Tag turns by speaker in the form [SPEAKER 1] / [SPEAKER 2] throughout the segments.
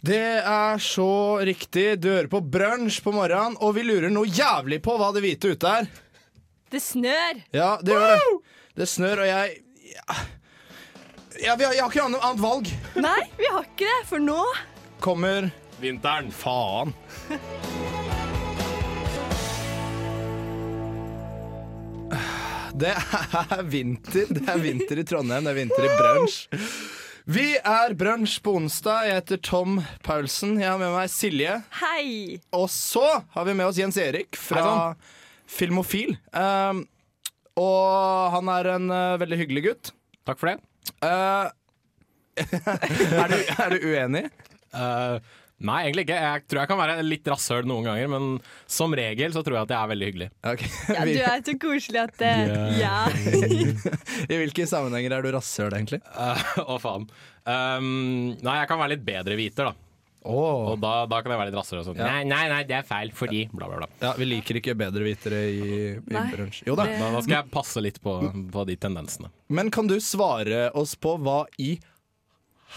[SPEAKER 1] Det er så riktig. Du hører på Brunsj på morgenen, og vi lurer noe jævlig på hva det hvite ute er.
[SPEAKER 2] Det snør!
[SPEAKER 1] Ja, det gjør det. Det snør, og jeg ja, vi har, Jeg har ikke annet, annet valg.
[SPEAKER 2] Nei, vi har ikke det, for nå
[SPEAKER 1] Kommer
[SPEAKER 3] Vinteren.
[SPEAKER 1] Faen. Det er vinter. Det er vinter i Trondheim, det er vinter i brunsj. Vi er brunsj på onsdag. Jeg heter Tom Paulsen. Jeg har med meg Silje.
[SPEAKER 2] Hei!
[SPEAKER 1] Og så har vi med oss Jens Erik fra
[SPEAKER 3] Hei
[SPEAKER 1] Filmofil. Um, og han er en uh, veldig hyggelig gutt.
[SPEAKER 3] Takk for det.
[SPEAKER 1] Uh, er, du, er du uenig?
[SPEAKER 3] Eh, nei, egentlig ikke. Jeg tror jeg kan være litt rasshøl noen ganger, men som regel så tror jeg at jeg er veldig hyggelig.
[SPEAKER 1] Ok.
[SPEAKER 2] Ja, du er så koselig at det Ja.
[SPEAKER 1] I hvilke sammenhenger er du rasshøl, egentlig?
[SPEAKER 3] Eh, Å, faen. Um, nei, jeg kan være litt bedreviter, da.
[SPEAKER 1] Oh.
[SPEAKER 3] Og da, da kan jeg være litt rassere og sånn.
[SPEAKER 1] Ja.
[SPEAKER 3] Nei, nei, nei, det er feil, fordi bla, bla, bla.
[SPEAKER 1] Ja, vi liker ikke bedrevitere i, i
[SPEAKER 2] Nei.
[SPEAKER 1] brunsj. Jo da.
[SPEAKER 2] Det-
[SPEAKER 3] Da, da skal jeg passe litt på, på de tendensene.
[SPEAKER 1] Men kan du svare oss på hva i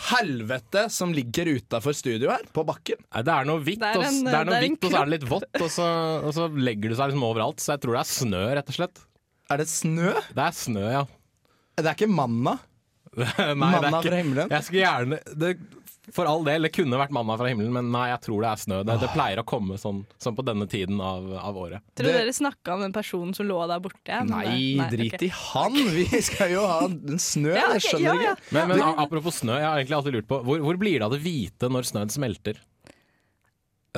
[SPEAKER 1] helvete som ligger utafor studio her, på bakken?
[SPEAKER 3] Nei, Det er noe hvitt,
[SPEAKER 2] Det er
[SPEAKER 3] og s-
[SPEAKER 2] en-
[SPEAKER 3] det er noe
[SPEAKER 2] det er en
[SPEAKER 3] hvitt og så er det litt vått, og så, og så legger det seg liksom overalt. Så jeg tror det er snø, rett og slett.
[SPEAKER 1] Er det snø?
[SPEAKER 3] Det er snø, ja.
[SPEAKER 1] Det er ikke manna.
[SPEAKER 3] nei, det
[SPEAKER 1] Manna
[SPEAKER 3] er
[SPEAKER 1] fra
[SPEAKER 3] ikke
[SPEAKER 1] himmelen.
[SPEAKER 3] Jeg skulle gjerne det, For all del, det kunne vært manna fra himmelen, men nei, jeg tror det er snø. Det,
[SPEAKER 1] Ah.
[SPEAKER 3] det pleier å komme sånn, sånn på denne tiden av, av året.
[SPEAKER 2] Tror
[SPEAKER 1] Det-
[SPEAKER 2] dere snakka om den personen som lå der borte? men
[SPEAKER 1] Nei, drit
[SPEAKER 2] ok.
[SPEAKER 1] i han! Vi skal jo ha en snø,
[SPEAKER 2] Ja,
[SPEAKER 1] det
[SPEAKER 2] ok,
[SPEAKER 1] skjønner
[SPEAKER 2] ja,
[SPEAKER 1] du
[SPEAKER 2] ja.
[SPEAKER 1] ikke.
[SPEAKER 3] Men, men a- apropos snø, jeg har egentlig alltid lurt på hvor, hvor blir det av det hvite når snøen smelter?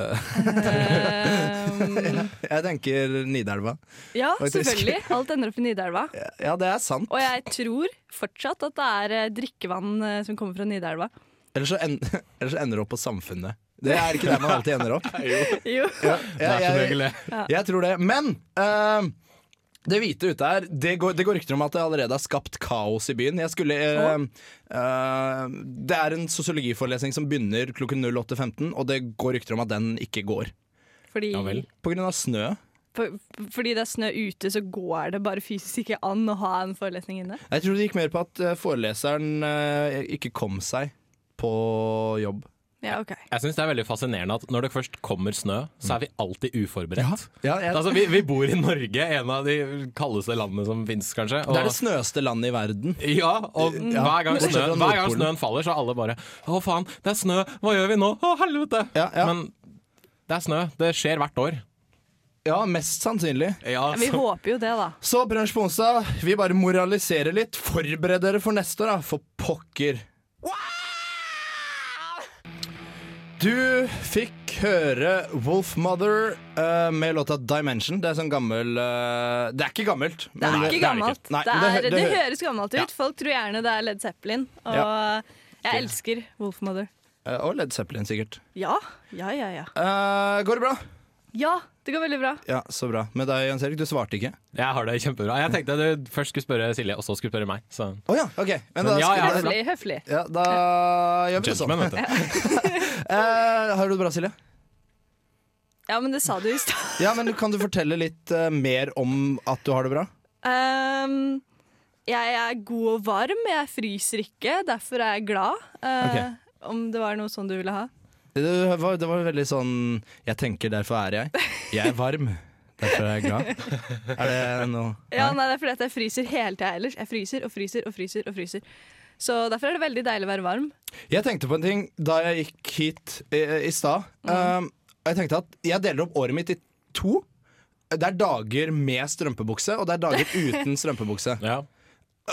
[SPEAKER 2] Ehm,
[SPEAKER 1] Jeg tenker Nidelva.
[SPEAKER 2] ja,
[SPEAKER 1] Faktisk.
[SPEAKER 2] selvfølgelig. Alt ender opp i Nidelva.
[SPEAKER 1] Ja, det er sant.
[SPEAKER 2] Og jeg tror fortsatt at det er eh, drikkevann eh, som kommer fra Nidelva.
[SPEAKER 1] Ellers så, en, ellers så ender du opp på Samfunnet. Det er ikke der man alltid ender opp.
[SPEAKER 2] Jo.
[SPEAKER 3] Det er som
[SPEAKER 1] jeg-
[SPEAKER 3] regel det.
[SPEAKER 1] Jeg tror det. Men eh, det hvite ute her Det går, det går rykter om at det allerede har skapt kaos i byen. Jeg skulle eh, eh, Det er en sosiologiforelesning som begynner klokken 08.15, og det går rykter om at den ikke går.
[SPEAKER 2] Fordi,
[SPEAKER 3] Ja vel.
[SPEAKER 1] På grunn av snø.
[SPEAKER 2] for, fordi det er snø ute, så går det bare fysisk ikke an å ha en forelesning inne.
[SPEAKER 1] Jeg tror det gikk mer på at eh, foreleseren eh, ikke kom seg på jobb.
[SPEAKER 2] Ja, ok.
[SPEAKER 3] Jeg syns det er veldig fascinerende at når det først kommer snø, så er vi alltid uforberedt.
[SPEAKER 1] Ja, jeg,
[SPEAKER 3] Altså, vi, vi bor i Norge, en av de kaldeste landene som fins, kanskje.
[SPEAKER 1] det er det snøeste landet i verden.
[SPEAKER 3] ja, og hver gang,
[SPEAKER 1] bortsett fra
[SPEAKER 3] snøen, hver gang
[SPEAKER 1] Nordpolen.
[SPEAKER 3] snøen faller, så er alle bare Å, faen, det er snø! Hva gjør vi nå? Å, helvete!
[SPEAKER 1] Ja, ja.
[SPEAKER 3] Men det er snø. Det skjer hvert år.
[SPEAKER 1] Ja, mest sannsynlig.
[SPEAKER 3] Ja,
[SPEAKER 2] Vi
[SPEAKER 3] så-
[SPEAKER 2] håper jo det, da.
[SPEAKER 1] Så Brunsj på onsdag, vi bare moraliserer litt. Forbered dere for neste år, da, for pokker. Du fikk høre Wolfmother eh, med låta 'Dimension'. Det er sånn gammel eh, Det er ikke gammelt.
[SPEAKER 2] Det er ikke gammelt. Det,
[SPEAKER 1] Nei,
[SPEAKER 2] er,
[SPEAKER 1] hø-
[SPEAKER 2] det
[SPEAKER 1] hø-
[SPEAKER 2] høres gammelt ut. Folk tror gjerne det er Led Zeppelin. Og jeg elsker Wolfmother.
[SPEAKER 1] Eh, og Led Zeppelin, sikkert.
[SPEAKER 2] Ja, ja, ja, ja.
[SPEAKER 1] Eh, går det bra?
[SPEAKER 2] Ja, det går veldig bra.
[SPEAKER 1] Ja, så bra. Med deg, Jens Erik, du svarte ikke.
[SPEAKER 3] Jeg har det kjempebra. Jeg tenkte du først skulle spørre Silje, og så skulle spørre meg. Så.
[SPEAKER 1] Å ja, OK. Men da,
[SPEAKER 3] Men ja, ja, det er bra.
[SPEAKER 2] Høflig, høflig.
[SPEAKER 1] ja, da gjør vi det sånn.
[SPEAKER 3] Gentleman, vet du.
[SPEAKER 1] Eh, har du det bra, Silje?
[SPEAKER 2] Ja, men det sa du i stad.
[SPEAKER 1] Ja, men Kan du fortelle litt eh, mer om at du har det bra?
[SPEAKER 2] Ehm, jeg er god og varm, jeg fryser ikke, derfor er jeg glad. Eh, Om det var noe sånn du ville ha.
[SPEAKER 1] Det var, det var veldig sånn Jeg tenker, derfor er jeg. Jeg er varm, derfor er jeg glad. Er det noe
[SPEAKER 2] Ja, nei, det er fordi at jeg fryser hele tida ellers. Jeg fryser og fryser og fryser og fryser. Så derfor er det veldig deilig å være varm.
[SPEAKER 1] Jeg tenkte på en ting da jeg gikk hit eh, i stad.
[SPEAKER 2] Mm.
[SPEAKER 1] Um, og jeg tenkte at jeg deler opp året mitt i to. Det er dager med strømpebukse, og det er dager uten strømpebukse.
[SPEAKER 3] Ja,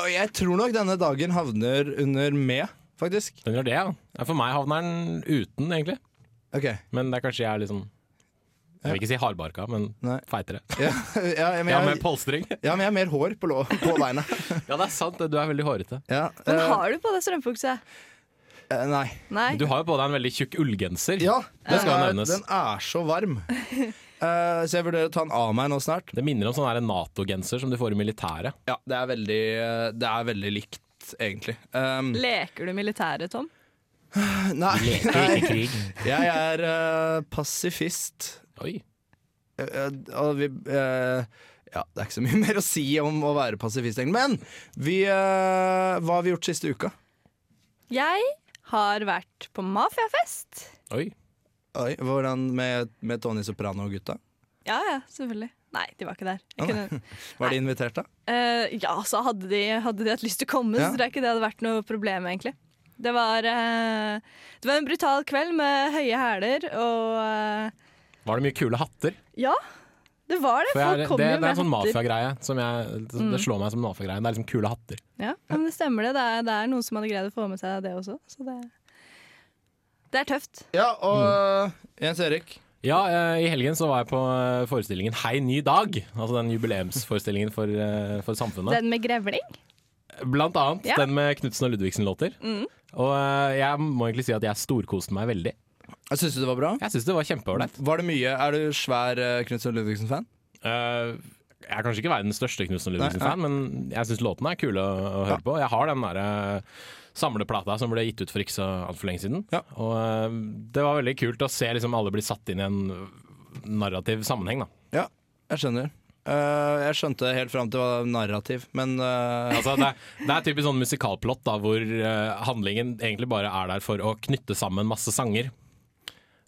[SPEAKER 1] Og jeg tror nok denne dagen havner under med, faktisk.
[SPEAKER 3] den gjør det, ja. Ja, For meg havner den uten, egentlig.
[SPEAKER 1] Ok,
[SPEAKER 3] Men det er kanskje jeg er liksom Jeg vil ikke si hardbarka, men
[SPEAKER 1] Nei.
[SPEAKER 3] feitere.
[SPEAKER 1] ja, ja, men
[SPEAKER 3] Ja, med
[SPEAKER 1] jeg,
[SPEAKER 3] polstring.
[SPEAKER 1] ja, men jeg har mer hår på, lå, på beina.
[SPEAKER 3] Ja, det er sant. Du er veldig hårete.
[SPEAKER 1] Ja,
[SPEAKER 2] Men
[SPEAKER 1] eh,
[SPEAKER 2] har du på deg strømpebukse?
[SPEAKER 1] eh, nei.
[SPEAKER 2] Nei.
[SPEAKER 3] Du har jo på deg en veldig tjukk ullgenser.
[SPEAKER 1] Ja,
[SPEAKER 3] Det skal
[SPEAKER 1] er-
[SPEAKER 3] nevnes.
[SPEAKER 1] Den er så varm. Eh, så jeg vurderer å ta den av meg nå snart.
[SPEAKER 3] Det minner om sånn her Nato-genser som du får i militæret.
[SPEAKER 1] Ja, det er veldig, eh, det er veldig likt, egentlig. Um,
[SPEAKER 2] Leker du militæret, Tom?
[SPEAKER 1] nei,
[SPEAKER 3] Leker ikke krig.
[SPEAKER 1] jeg er eh, pasifist.
[SPEAKER 3] Oi.
[SPEAKER 1] Eh, og vi eh, Ja, det er ikke så mye mer å si om å være pasifist, egentlig. Men vi, eh, hva har vi gjort siste uka?
[SPEAKER 2] Jeg har vært på mafiafest.
[SPEAKER 3] Oi.
[SPEAKER 1] Oi, hvordan med, med Tony Soprano og gutta?
[SPEAKER 2] Ja, ja, selvfølgelig. Nei, de var ikke der. Jeg
[SPEAKER 1] Å,
[SPEAKER 2] kunne,
[SPEAKER 1] Var de invitert, da?
[SPEAKER 2] Eh, ja, så hadde de, hadde de hatt lyst til å komme,
[SPEAKER 1] Ja.
[SPEAKER 2] så tror jeg ikke det hadde vært noe problem, egentlig. Det var, eh, det var en brutal kveld med høye hæler og eh,
[SPEAKER 3] Var det mye kule hatter?
[SPEAKER 2] Ja, det var det.
[SPEAKER 3] For jeg,
[SPEAKER 2] Folk
[SPEAKER 3] det,
[SPEAKER 2] kom
[SPEAKER 3] det
[SPEAKER 2] jo
[SPEAKER 3] er
[SPEAKER 2] med
[SPEAKER 3] en
[SPEAKER 2] hatter.
[SPEAKER 3] sånn
[SPEAKER 2] Mm.
[SPEAKER 3] mafiagreie. som jeg- Det det slår meg som en mafiagreie. Det er liksom kule hatter.
[SPEAKER 2] Ja, men det stemmer det. Det er, det er noen som hadde greid å få med seg det også. Så det, det er tøft.
[SPEAKER 1] Ja, og Mm. Jens Erik.
[SPEAKER 3] Ja, eh, i helgen så var jeg på eh, forestillingen Hei, ny dag. Altså den jubileumsforestillingen for, eh, for samfunnet.
[SPEAKER 2] Den med grevling?
[SPEAKER 3] Blant annet
[SPEAKER 2] Ja. Mm.
[SPEAKER 3] den med Knutsen og Ludvigsen-låter. Og eh, jeg må egentlig si at jeg storkoste meg veldig.
[SPEAKER 1] Syns du det var bra?
[SPEAKER 3] Jeg syns det var kjempeålreit.
[SPEAKER 1] Var det mye? Er du svær uh, Knutsen Ludvigsen-fan?
[SPEAKER 3] Eh, jeg er kanskje ikke verdens største Knutsen og
[SPEAKER 1] Nei,
[SPEAKER 3] Ludvigsen-fan, men jeg syns låtene er kule å, å høre på. Jeg har den derre samleplata som ble gitt ut for ikke så altfor lenge siden.
[SPEAKER 1] Ja.
[SPEAKER 3] Og eh, det var veldig kult å se liksom alle bli satt inn i en narrativ sammenheng, da.
[SPEAKER 1] Ja, jeg skjønner. Eh, jeg skjønte helt fram til det var narrativ, men eh,
[SPEAKER 3] Altså, det, er- det er typisk sånn musikalplott da, hvor eh, handlingen egentlig bare er der for å knytte sammen masse sanger.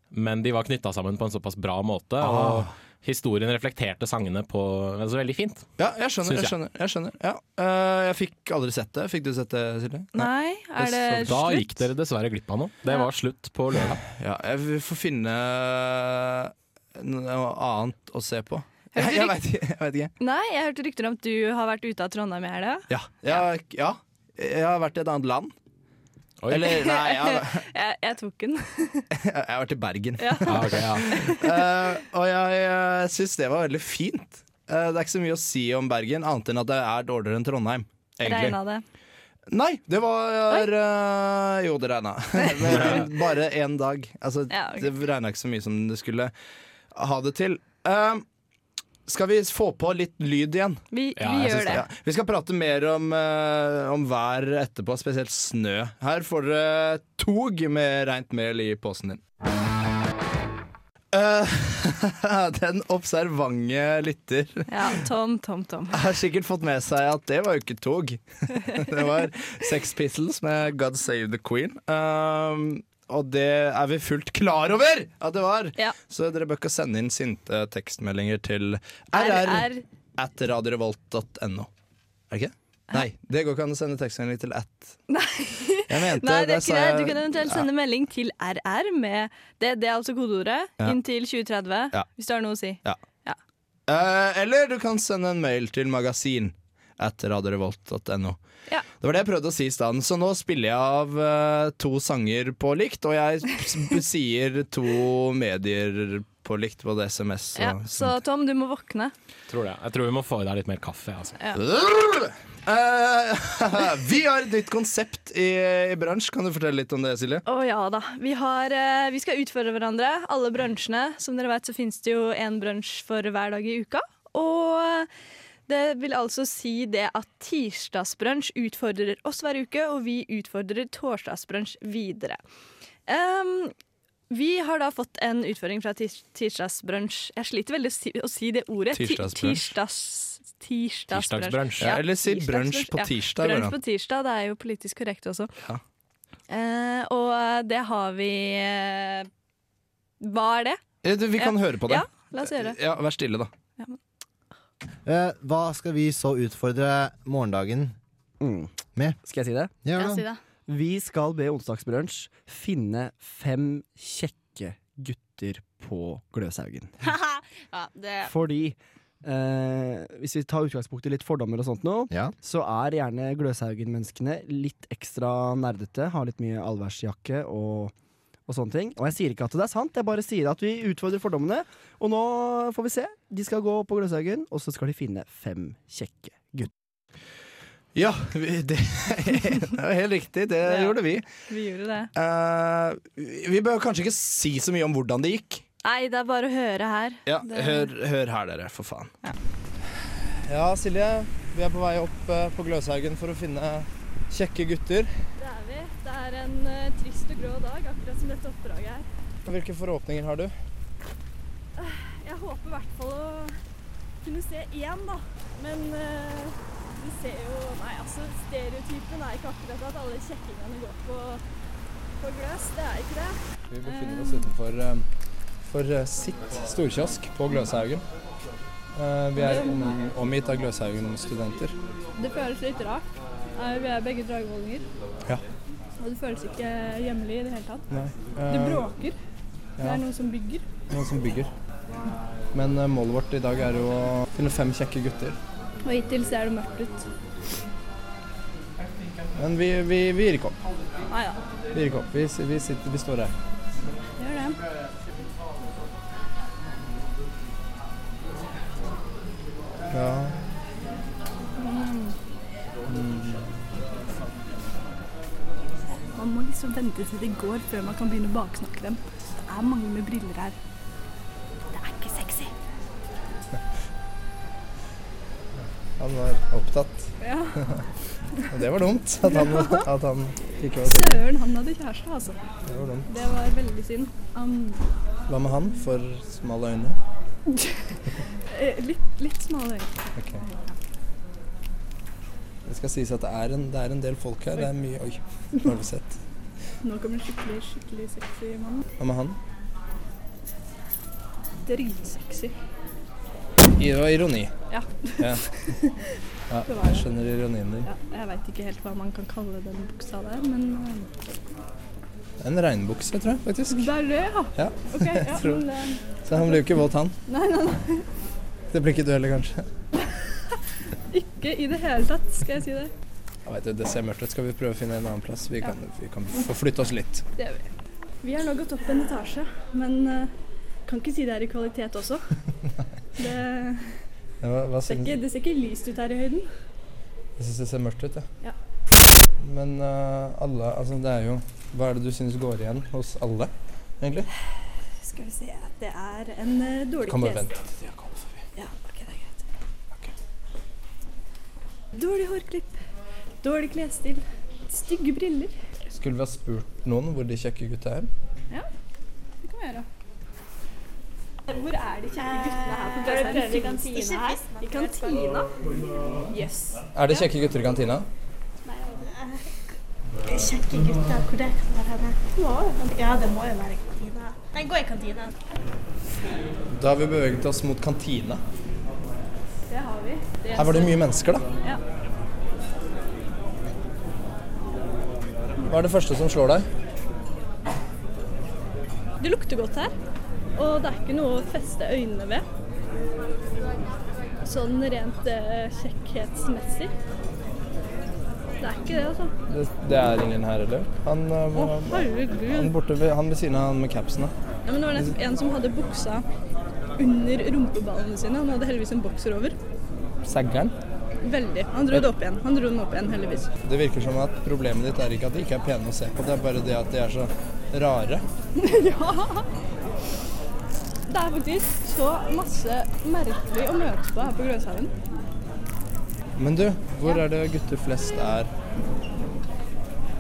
[SPEAKER 3] Men de var knytta sammen på en såpass bra måte,
[SPEAKER 1] Ah.
[SPEAKER 3] og historien reflekterte sangene på altså, veldig fint.
[SPEAKER 1] Ja, jeg skjønner. Jeg
[SPEAKER 3] Syns jeg.
[SPEAKER 1] skjønner, jeg, skjønner ja. Eh, jeg fikk aldri sett det. Fikk du sett det, Silje?
[SPEAKER 2] Nei, er det
[SPEAKER 3] Så da
[SPEAKER 2] slutt?
[SPEAKER 3] gikk dere dessverre glipp av noe. Det
[SPEAKER 2] Ja.
[SPEAKER 3] var slutt på lørdag.
[SPEAKER 1] Ja, jeg vil få finne eh, noe annet å se på. Jeg, jeg veit ikke. Jeg vet ikke.
[SPEAKER 2] Nei, jeg hørte rykter om at du har vært ute av Trondheim i helga.
[SPEAKER 1] Ja, jeg, ja. Jeg har vært i et annet land.
[SPEAKER 3] Oi.
[SPEAKER 1] Eller nei, jeg har,
[SPEAKER 2] Jeg, jeg tok den.
[SPEAKER 1] jeg har vært i Bergen.
[SPEAKER 3] Ja, ok, ja.
[SPEAKER 1] Eh, og jeg uh, syns det var veldig fint. Eh, det er ikke så mye å si om Bergen, annet enn at det er dårligere enn Trondheim. Egentlig.
[SPEAKER 2] Regna det.
[SPEAKER 1] Nei, det var eh, Jo, det regna. Men Bare én dag. Altså,
[SPEAKER 2] Ja, ok.
[SPEAKER 1] Det regna ikke så mye som det skulle ha det til. Eh, skal vi få på litt lyd igjen?
[SPEAKER 2] Vi,
[SPEAKER 3] Ja,
[SPEAKER 2] vi
[SPEAKER 3] jeg
[SPEAKER 2] gjør
[SPEAKER 3] synes
[SPEAKER 2] det.
[SPEAKER 1] Ja. Vi skal prate mer om, eh, om vær etterpå, spesielt snø. Her får dere tog med reint mel i posen din. Eh, den observante lytter
[SPEAKER 2] Ja, Tom, Tom, Tom.
[SPEAKER 1] har sikkert fått med seg at det var jo ikke tog. det var Sex Pistols med God Save the Queen. Um, og det er vi fullt klar over at det var!
[SPEAKER 2] Ja.
[SPEAKER 1] Så dere bør ikke sende inn sinte tekstmeldinger til rr
[SPEAKER 2] RR.
[SPEAKER 1] at radiorevolt.no. Er det ikke? Nei, det går ikke an å sende tekstmelding til at. Nei, jeg mente,
[SPEAKER 2] Nei, det er
[SPEAKER 1] sa
[SPEAKER 2] ikke det. Du
[SPEAKER 1] jeg-
[SPEAKER 2] kan eventuelt sende melding til RR med Det, det er altså kodeordet.
[SPEAKER 1] Ja.
[SPEAKER 2] Inntil 2030,
[SPEAKER 1] Ja.
[SPEAKER 2] hvis du har noe å si.
[SPEAKER 1] Ja.
[SPEAKER 2] Ja.
[SPEAKER 1] Eh, eller du kan sende en mail til magasin at radiorevolt.no.
[SPEAKER 2] Ja.
[SPEAKER 1] Det var det jeg prøvde å si i stedet, så nå spiller jeg av eh, to sanger på likt, og jeg s- b- sier to medier på likt, både SMS og
[SPEAKER 2] Ja, så Tom, du må våkne.
[SPEAKER 3] Tror det. Jeg tror vi må få i deg litt mer kaffe. Altså.
[SPEAKER 1] Eh, Vi har et nytt konsept i, i bransj, kan du fortelle litt om det, Silje?
[SPEAKER 2] Å ja da. Vi, har, eh, vi skal utfordre hverandre. Alle bransjene. Som dere vet, så finnes det jo én bransj for hver dag i uka. Og eh, det vil altså si det at tirsdagsbransj utfordrer oss hver uke, og vi utfordrer torsdagsbransj videre. Ehm, vi har da fått en utfordring fra tirs tirsdagsbransj. Jeg sliter veldig å si, å si det ordet. Ti-
[SPEAKER 1] Tirsdagsbransj.
[SPEAKER 2] Tirsdags, tirsdagsbransj.
[SPEAKER 3] Tirsdagsbransj.
[SPEAKER 1] Ja, eller si
[SPEAKER 2] tirsdagsbransj.
[SPEAKER 1] brunsj på
[SPEAKER 2] Ja.
[SPEAKER 1] tirsdag,
[SPEAKER 2] Brunsj
[SPEAKER 1] går
[SPEAKER 2] på tirsdag, det er jo politisk korrekt også.
[SPEAKER 1] Ja.
[SPEAKER 2] Eh, og eh, det har vi eh, Hva er det?
[SPEAKER 1] Eh, du, Vi kan høre på det.
[SPEAKER 2] Ja, la oss gjøre det.
[SPEAKER 1] Ja, vær stille, da.
[SPEAKER 4] Eh, hva skal vi så utfordre morgendagen?
[SPEAKER 5] Skal jeg si det?
[SPEAKER 2] Ja,
[SPEAKER 4] Ja, da.
[SPEAKER 2] si det.
[SPEAKER 5] Vi skal be Onsdagsbrunsj finne fem kjekke gutter på Gløshaugen.
[SPEAKER 2] Ja, det
[SPEAKER 5] Fordi eh, hvis vi tar utgangspunkt i litt fordommer og sånt nå,
[SPEAKER 4] Ja.
[SPEAKER 5] så er gjerne Gløshaugen-menneskene litt ekstra nerdete. Har litt mye allværsjakke og, og sånne ting. Og jeg sier ikke at det er sant, jeg bare sier at vi utfordrer fordommene. Og nå får vi se. De skal gå på Gløshaugen, og så skal de finne fem kjekke gutter.
[SPEAKER 1] Ja, vi- det, det er helt riktig. Det
[SPEAKER 2] Ja.
[SPEAKER 1] gjorde vi.
[SPEAKER 2] vi gjorde det.
[SPEAKER 1] Eh, vi bør kanskje ikke si så mye om hvordan det gikk.
[SPEAKER 2] Nei, det er bare å høre her.
[SPEAKER 1] Ja,
[SPEAKER 2] Det-
[SPEAKER 1] hør, hør her, dere, for faen.
[SPEAKER 5] Ja, Silje.
[SPEAKER 1] Vi er på vei opp eh, på Gløshaugen for å finne kjekke gutter.
[SPEAKER 2] Det er vi. Det er en eh, trist og grå dag, akkurat som dette oppdraget her.
[SPEAKER 1] Hvilke forhåpninger har du?
[SPEAKER 2] Jeg håper i hvert fall å kunne se én, da. Men eh, vi ser jo Nei, altså, stereotypen er ikke akkurat at alle kjekkingene går på
[SPEAKER 6] gløs, det er ikke det.
[SPEAKER 1] Vi befinner oss utenfor eh, for eh, sitt storkiosk på Gløshaugen. Eh, Vi er om- omgitt av Gløshaugen-studenter.
[SPEAKER 6] Det føles litt rart. Eh, Vi er begge dragevollinger.
[SPEAKER 1] Ja.
[SPEAKER 6] Og det føles ikke hjemlig i det hele tatt.
[SPEAKER 1] Nei.
[SPEAKER 6] Det
[SPEAKER 1] eh,
[SPEAKER 6] bråker. Det
[SPEAKER 1] ja.
[SPEAKER 6] er noen som bygger.
[SPEAKER 1] Eh, Noen som bygger. Men eh, målet vårt i dag er jo å finne fem kjekke gutter.
[SPEAKER 6] Og hittil ser det mørkt ut.
[SPEAKER 1] Men vi, vi, vi gir ikke opp.
[SPEAKER 6] Nei da.
[SPEAKER 1] Vi gir ikke opp. Vi, si- vi, sitter, vi står her.
[SPEAKER 6] Gjør det.
[SPEAKER 1] Ja.
[SPEAKER 6] Mm.
[SPEAKER 2] Man må liksom vente til det går før man kan begynne å baksnakke dem. Det er mange med briller her. Det er ikke sexy.
[SPEAKER 1] Han var opptatt.
[SPEAKER 2] Ja.
[SPEAKER 1] Og det var dumt at han, at han ikke var
[SPEAKER 2] Søren, han hadde kjæreste, altså.
[SPEAKER 1] Det var dumt.
[SPEAKER 2] Det var veldig synd. Han
[SPEAKER 1] Hva med han? For smale øyne?
[SPEAKER 2] eh, litt, litt smal øyne.
[SPEAKER 1] Ok. Det skal sies at det er en, det er en del folk her. Det er mye Oi, nå har vi sett.
[SPEAKER 2] Nå kommer en skikkelig, skikkelig sexy mann.
[SPEAKER 1] Hva med han?
[SPEAKER 2] Dritsexy.
[SPEAKER 1] Det var ironi.
[SPEAKER 2] Ja.
[SPEAKER 1] ja. Ja,
[SPEAKER 2] Det var
[SPEAKER 1] jeg
[SPEAKER 2] det.
[SPEAKER 1] skjønner ironien din.
[SPEAKER 2] Ja, jeg veit ikke helt hva man kan kalle den buksa der, men eh,
[SPEAKER 1] En regnbukse, tror jeg faktisk.
[SPEAKER 2] Det er det, ja.
[SPEAKER 1] Ja.
[SPEAKER 2] Ok, ja,
[SPEAKER 1] tror-
[SPEAKER 2] men eh,
[SPEAKER 1] Så han blir jo ikke våt, han.
[SPEAKER 2] Nei, nei, nei.
[SPEAKER 1] Det blir ikke du heller, kanskje.
[SPEAKER 2] Ikke i det hele tatt, skal jeg si det.
[SPEAKER 1] Jeg vet, det ser mørkt ut. Skal vi prøve å finne en annen plass? Vi kan, vi kan få flytte oss litt.
[SPEAKER 2] Det gjør vi. Vi har nå gått opp en etasje, men eh, kan ikke si det er i kvalitet også. Det,
[SPEAKER 1] Ja, Hva, hva
[SPEAKER 2] ser
[SPEAKER 1] syns
[SPEAKER 2] ikke, det ser ikke lyst ut her i høyden.
[SPEAKER 1] Jeg syns det ser mørkt ut, jeg.
[SPEAKER 2] Ja.
[SPEAKER 1] Men eh, alle Altså, det er jo Hva er det du syns går igjen hos alle, egentlig?
[SPEAKER 2] Skal vi se Det er en eh, dårlig
[SPEAKER 1] Kan bare
[SPEAKER 2] kles-
[SPEAKER 1] vente til de har kommet forbi.
[SPEAKER 2] Ja, ok, det er greit. Dårlig hårklipp. Dårlig klesstil. Stygge briller.
[SPEAKER 1] Skulle vi ha spurt noen hvor de kjekke gutta er?
[SPEAKER 2] Det kan vi gjøre. Hvor er de kjekke guttene her på
[SPEAKER 6] Dere
[SPEAKER 2] Gløshaugen?
[SPEAKER 6] prøver i kantina her?
[SPEAKER 2] I kantina? Jøss.
[SPEAKER 1] Er det kjekke gutter i kantina?
[SPEAKER 7] Kjekke gutter, hvor det kan være henne? Ja, det må jo være i kantina. Nei, gå i kantina.
[SPEAKER 1] Da har vi beveget oss mot kantina.
[SPEAKER 2] Det har vi.
[SPEAKER 1] Her var det mye mennesker, da.
[SPEAKER 2] Ja.
[SPEAKER 1] Hva er det første som slår deg?
[SPEAKER 2] Det lukter godt her, og det er ikke noe å feste øynene ved. Sånn rent eh, kjekkhetsmessig. Det er ikke det, altså.
[SPEAKER 1] Det, det er ingen her heller. Han, eh,
[SPEAKER 2] Å,
[SPEAKER 1] var- han
[SPEAKER 2] herregud.
[SPEAKER 1] borte ved, han ved siden av han med capsene.
[SPEAKER 2] Ja, men det var nettopp en som hadde buksa under rumpeballene sine. Han hadde heldigvis en bokser over.
[SPEAKER 1] Saggeren.
[SPEAKER 2] Veldig. Han dro det opp igjen. Han dro den opp igjen, heldigvis.
[SPEAKER 1] Det virker som at problemet ditt er ikke at de ikke er pene å se på, det er bare det at de er så rare.
[SPEAKER 2] Ja! Det er faktisk så masse merkelig å møte på her på Gløshaugen.
[SPEAKER 1] Men du, hvor er det gutter flest er?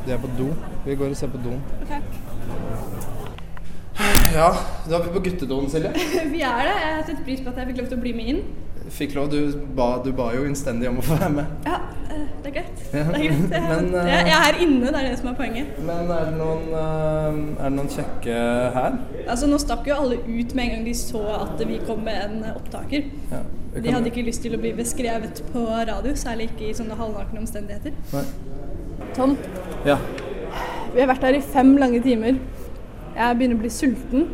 [SPEAKER 1] De er på do. Vi går og ser på doen.
[SPEAKER 2] Ok.
[SPEAKER 1] Ja, da er vi på guttedoen, Silje.
[SPEAKER 2] Vi er det. Jeg setter pris på at jeg fikk lov til å bli med inn.
[SPEAKER 1] Fikk lov, du ba, du ba jo innstendig om å få være med.
[SPEAKER 2] Ja, eh, det er greit.
[SPEAKER 1] Ja,
[SPEAKER 2] Det er greit. Jeg,
[SPEAKER 1] men, eh,
[SPEAKER 2] jeg, jeg er her inne, det er det som er poenget.
[SPEAKER 1] Men er det noen, eh, er det noen kjekke her?
[SPEAKER 2] Altså, Nå stakk jo alle ut med en gang de så at vi kom med en eh, opptaker.
[SPEAKER 1] Ja, vi
[SPEAKER 2] De
[SPEAKER 1] kan-
[SPEAKER 2] hadde ikke lyst til å bli beskrevet på radio, særlig ikke i sånne halvnakne omstendigheter.
[SPEAKER 1] Nei.
[SPEAKER 2] Tom,
[SPEAKER 1] Ja.
[SPEAKER 2] vi har vært her i fem lange timer. Jeg begynner å bli sulten,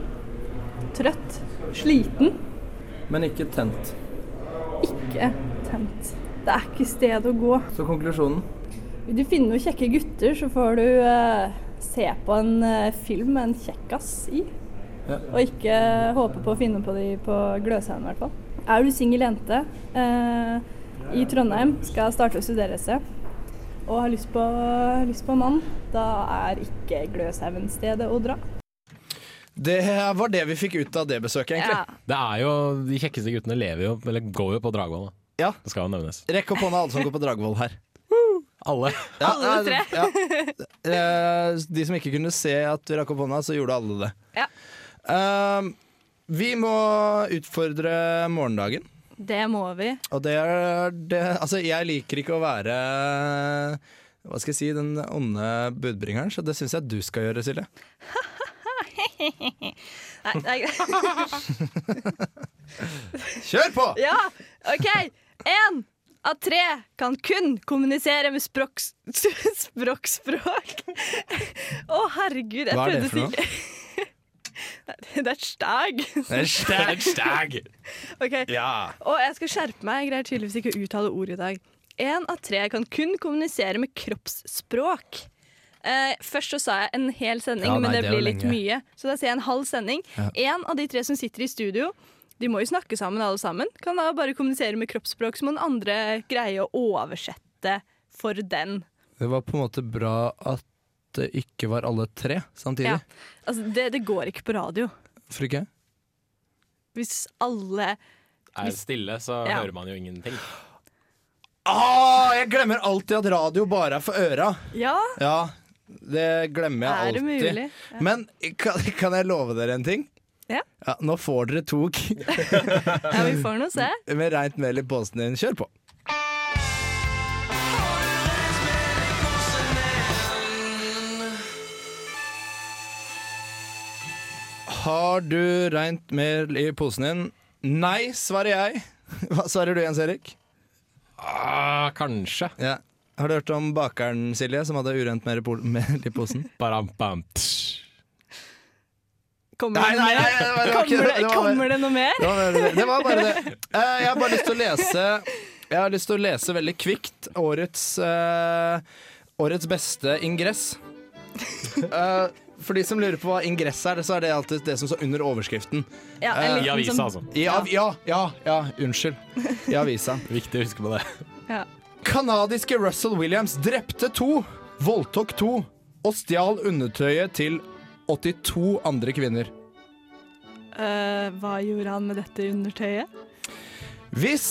[SPEAKER 2] trøtt, sliten.
[SPEAKER 1] Men ikke tent.
[SPEAKER 2] Ikke tent. Det er ikke sted å gå.
[SPEAKER 1] Så konklusjonen.
[SPEAKER 2] Vil du finne noen kjekke gutter, så får du eh, se på en eh, film med en kjekkas i.
[SPEAKER 1] Ja.
[SPEAKER 2] Og ikke eh, håpe på å finne på de på Gløshaugen, i hvert fall. Er du singel jente eh, i Trondheim, skal starte å studere et sted og har lyst på, lyst på en mann, da er ikke Gløshaugen stedet å dra.
[SPEAKER 1] Det var det vi fikk ut av det besøket, egentlig.
[SPEAKER 3] Det er jo, De kjekkeste guttene lever jo, eller går jo på Dragvoll. da.
[SPEAKER 1] Ja.
[SPEAKER 3] Det skal jo nevnes.
[SPEAKER 1] Rekk opp hånda alle som går på Dragvoll her.
[SPEAKER 3] Alle.
[SPEAKER 1] Ja, alle tre. Ja. Eh, De som ikke kunne se at vi rakk opp hånda, så gjorde alle det.
[SPEAKER 6] Ja.
[SPEAKER 1] Eh, vi må utfordre morgendagen.
[SPEAKER 6] Det må vi.
[SPEAKER 1] Og det er det Altså, jeg liker ikke å være hva skal jeg si, den onde budbringeren, så det syns jeg du skal gjøre, Silje.
[SPEAKER 2] Nei, nei.
[SPEAKER 1] Kjør på!
[SPEAKER 2] Ja, OK. Én av tre kan kun kommunisere med språks... språkspråk. Å, herregud. Jeg
[SPEAKER 1] Hva er det
[SPEAKER 2] prøvde å
[SPEAKER 1] for noe?
[SPEAKER 2] si Det er et stag.
[SPEAKER 3] Stag, stag!
[SPEAKER 2] OK.
[SPEAKER 1] Ja.
[SPEAKER 2] Og jeg skal skjerpe meg. Jeg greier tydeligvis ikke å uttale ord i dag. Én av tre kan kun kommunisere med kroppsspråk. Eh, først så sa jeg en hel sending,
[SPEAKER 1] Ja, nei,
[SPEAKER 2] men det,
[SPEAKER 1] det er jo
[SPEAKER 2] blir litt
[SPEAKER 1] lenge.
[SPEAKER 2] mye. Så da sier jeg en halv sending. Én av de tre som sitter i studio, de må jo snakke sammen alle sammen. Kan da bare kommunisere med kroppsspråk, så må den andre greie å oversette for den.
[SPEAKER 1] Det var på en måte bra at det ikke var alle tre samtidig.
[SPEAKER 2] Ja. Altså, det, det går ikke på radio.
[SPEAKER 1] Hvorfor ikke?
[SPEAKER 2] Hvis alle
[SPEAKER 3] Er det stille, så
[SPEAKER 2] Ja.
[SPEAKER 3] hører man jo ingenting.
[SPEAKER 1] Ah, jeg glemmer alltid at radio bare er for øra.
[SPEAKER 2] Ja,
[SPEAKER 1] Ja, det glemmer jeg
[SPEAKER 2] er det
[SPEAKER 1] alltid.
[SPEAKER 2] mulig?
[SPEAKER 1] Men kan, kan jeg love dere en ting?
[SPEAKER 2] Ja.
[SPEAKER 1] nå får dere to k-
[SPEAKER 2] Ja, vi får nå se.
[SPEAKER 1] med reint mel i posen din. Kjør på. Har du reint mel i posen din? Nei, svarer jeg. Hva svarer du, Jens Erik?
[SPEAKER 3] Ah, kanskje.
[SPEAKER 1] Ja. Har du hørt om bakeren, Silje, som hadde urent mel i pol- mel i posen?
[SPEAKER 3] Baram, bam, tsch.
[SPEAKER 2] Kommer
[SPEAKER 1] Nei,
[SPEAKER 2] det
[SPEAKER 1] nei,
[SPEAKER 2] noe
[SPEAKER 1] nei,
[SPEAKER 2] mer?
[SPEAKER 1] det var- det var ikke
[SPEAKER 2] Kommer
[SPEAKER 1] det,
[SPEAKER 2] det,
[SPEAKER 1] det var bare-
[SPEAKER 2] kommer det noe mer?
[SPEAKER 1] Det var bare det. det, var bare det. Eh, jeg har bare lyst til å lese Jeg har lyst til å lese veldig kvikt årets eh, Årets beste ingress. Eh, for de som lurer på hva ingress er, så er det alltid det som står under overskriften.
[SPEAKER 2] Ja, en
[SPEAKER 1] Eh,
[SPEAKER 2] liten
[SPEAKER 3] I avisa,
[SPEAKER 2] sånn-
[SPEAKER 3] altså.
[SPEAKER 1] I av, ja, ja, ja, unnskyld. I avisa.
[SPEAKER 3] Viktig å huske på det.
[SPEAKER 1] Kanadiske Russell Williams drepte to, voldtok to og stjal undertøyet til 82 andre kvinner.
[SPEAKER 2] Eh, hva gjorde han med dette undertøyet?
[SPEAKER 1] Hvis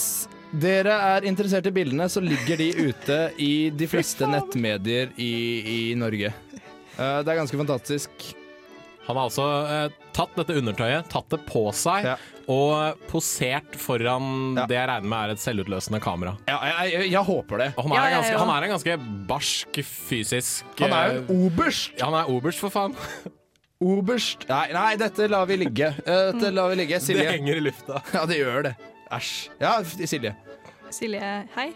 [SPEAKER 1] dere er interessert i bildene, så ligger de ute i de fleste nettmedier i, i Norge. Eh, det er ganske fantastisk.
[SPEAKER 3] Han har altså eh, tatt dette undertøyet, tatt det på seg
[SPEAKER 1] Ja.
[SPEAKER 3] og eh, posert foran
[SPEAKER 1] Ja.
[SPEAKER 3] det jeg regner med er et selvutløsende kamera.
[SPEAKER 1] Ja, jeg, jeg, jeg håper det.
[SPEAKER 3] Og Han
[SPEAKER 2] Ja,
[SPEAKER 3] er,
[SPEAKER 2] ja,
[SPEAKER 3] ganske,
[SPEAKER 2] ja.
[SPEAKER 3] han er en ganske barsk fysisk
[SPEAKER 1] Han er jo
[SPEAKER 3] eh,
[SPEAKER 1] en oberst!
[SPEAKER 3] han er oberst, for faen.
[SPEAKER 1] Oberst Nei, nei dette lar vi ligge. Eh, dette lar vi ligge.
[SPEAKER 3] Det
[SPEAKER 1] Silje.
[SPEAKER 3] henger i lufta.
[SPEAKER 1] Ja, det gjør det. Æsj. Ja, f- Silje.
[SPEAKER 2] Silje, hei.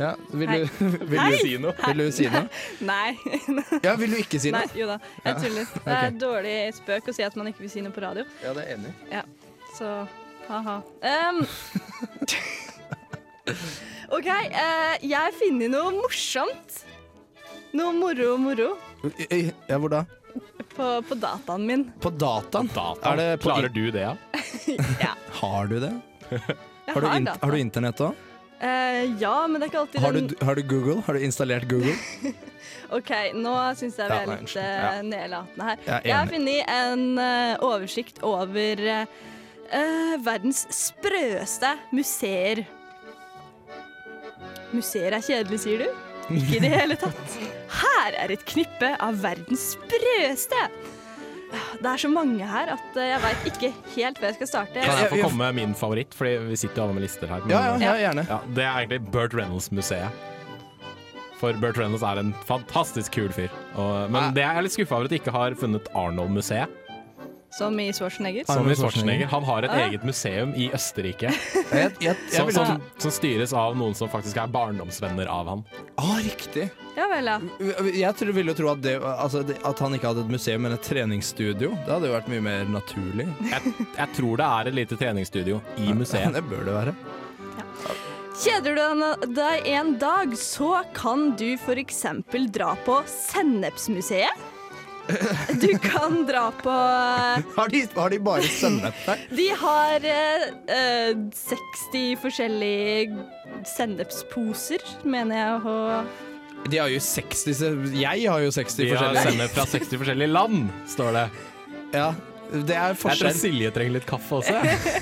[SPEAKER 1] Ja, vil
[SPEAKER 2] Hei.
[SPEAKER 1] du, vil
[SPEAKER 2] Hei.
[SPEAKER 1] du si noe? Vil du si noe?
[SPEAKER 2] Nei.
[SPEAKER 1] Ja, vil du ikke si
[SPEAKER 2] Nei,
[SPEAKER 1] noe?
[SPEAKER 2] jo da. Jeg tuller. Det er et dårlig spøk å si at man ikke vil si noe på radio,
[SPEAKER 1] Ja, det er enig.
[SPEAKER 2] så ha-ha. Em, OK, eh, jeg har funnet noe morsomt. Noe moro-moro
[SPEAKER 1] Eh, Ja, hvor da?
[SPEAKER 2] på, på dataen min.
[SPEAKER 1] På dataen?
[SPEAKER 3] Data.
[SPEAKER 1] Er det på
[SPEAKER 3] Klarer
[SPEAKER 1] in-
[SPEAKER 3] du det, ja?
[SPEAKER 1] Har du det?
[SPEAKER 2] Jeg
[SPEAKER 1] Har du, in
[SPEAKER 2] data.
[SPEAKER 1] har du internett òg?
[SPEAKER 2] Eh, ja, men det er ikke alltid
[SPEAKER 1] Har,
[SPEAKER 2] den
[SPEAKER 1] du- har du Google? Har du installert Google?
[SPEAKER 2] OK, nå syns jeg vi
[SPEAKER 1] Ja,
[SPEAKER 2] er
[SPEAKER 1] nei,
[SPEAKER 2] litt
[SPEAKER 1] unnskyld.
[SPEAKER 2] eh,
[SPEAKER 1] Ja.
[SPEAKER 2] nedlatende her.
[SPEAKER 1] Jeg er
[SPEAKER 2] Jeg har
[SPEAKER 1] enig.
[SPEAKER 2] funnet en eh, oversikt over eh, eh, verdens sprøeste museer. Museer er kjedelig, sier du? Ikke i det hele tatt. Her er et knippe av verdens sprøeste. Det er så mange her at eh, jeg veit ikke helt hvor jeg skal starte.
[SPEAKER 3] Kan jeg
[SPEAKER 1] Ja,
[SPEAKER 3] få
[SPEAKER 1] ja.
[SPEAKER 3] komme med min favoritt, Fordi vi sitter jo alle med lister her. men-
[SPEAKER 1] Ja, ja, ja, gjerne.
[SPEAKER 3] Ja, det er egentlig Burt Reynolds-museet. For Burt Reynolds er en fantastisk kul fyr. Og, men det er jeg litt skuffa over at jeg ikke har funnet Arnold-museet.
[SPEAKER 2] Som i Schwarzenegger.
[SPEAKER 1] Arnold
[SPEAKER 3] Som i Schwarzenegger.
[SPEAKER 1] Schwarzenegger.
[SPEAKER 3] Han har et
[SPEAKER 2] Ah.
[SPEAKER 3] eget museum i Østerrike
[SPEAKER 1] Jeg, jeg, jeg
[SPEAKER 3] som,
[SPEAKER 1] vil
[SPEAKER 3] som, som styres av noen som faktisk er barndomsvenner av han.
[SPEAKER 1] Ah, riktig.
[SPEAKER 2] Ja vel, ja.
[SPEAKER 1] Jeg tror, ville jo tro at, det, altså, det- at han ikke hadde et museum, men et treningsstudio. Det hadde jo vært mye mer naturlig.
[SPEAKER 3] Jeg, jeg tror det er et lite treningsstudio i museet.
[SPEAKER 1] Det bør det være.
[SPEAKER 2] Kjeder du deg en dag, så kan du f.eks. dra på Sennepsmuseet. Du kan dra på eh,
[SPEAKER 1] Har de, har de bare sennep der?
[SPEAKER 2] De har eh, eh, 60 forskjellige sennepsposer, mener jeg. Og
[SPEAKER 1] De har jo 60 se- Jeg har jo 60
[SPEAKER 3] De har
[SPEAKER 1] forskjellige.
[SPEAKER 3] sender fra 60 forskjellige land, står det.
[SPEAKER 1] Ja, det er
[SPEAKER 3] Jeg tror
[SPEAKER 1] forskjell.
[SPEAKER 3] Silje trenger litt kaffe også.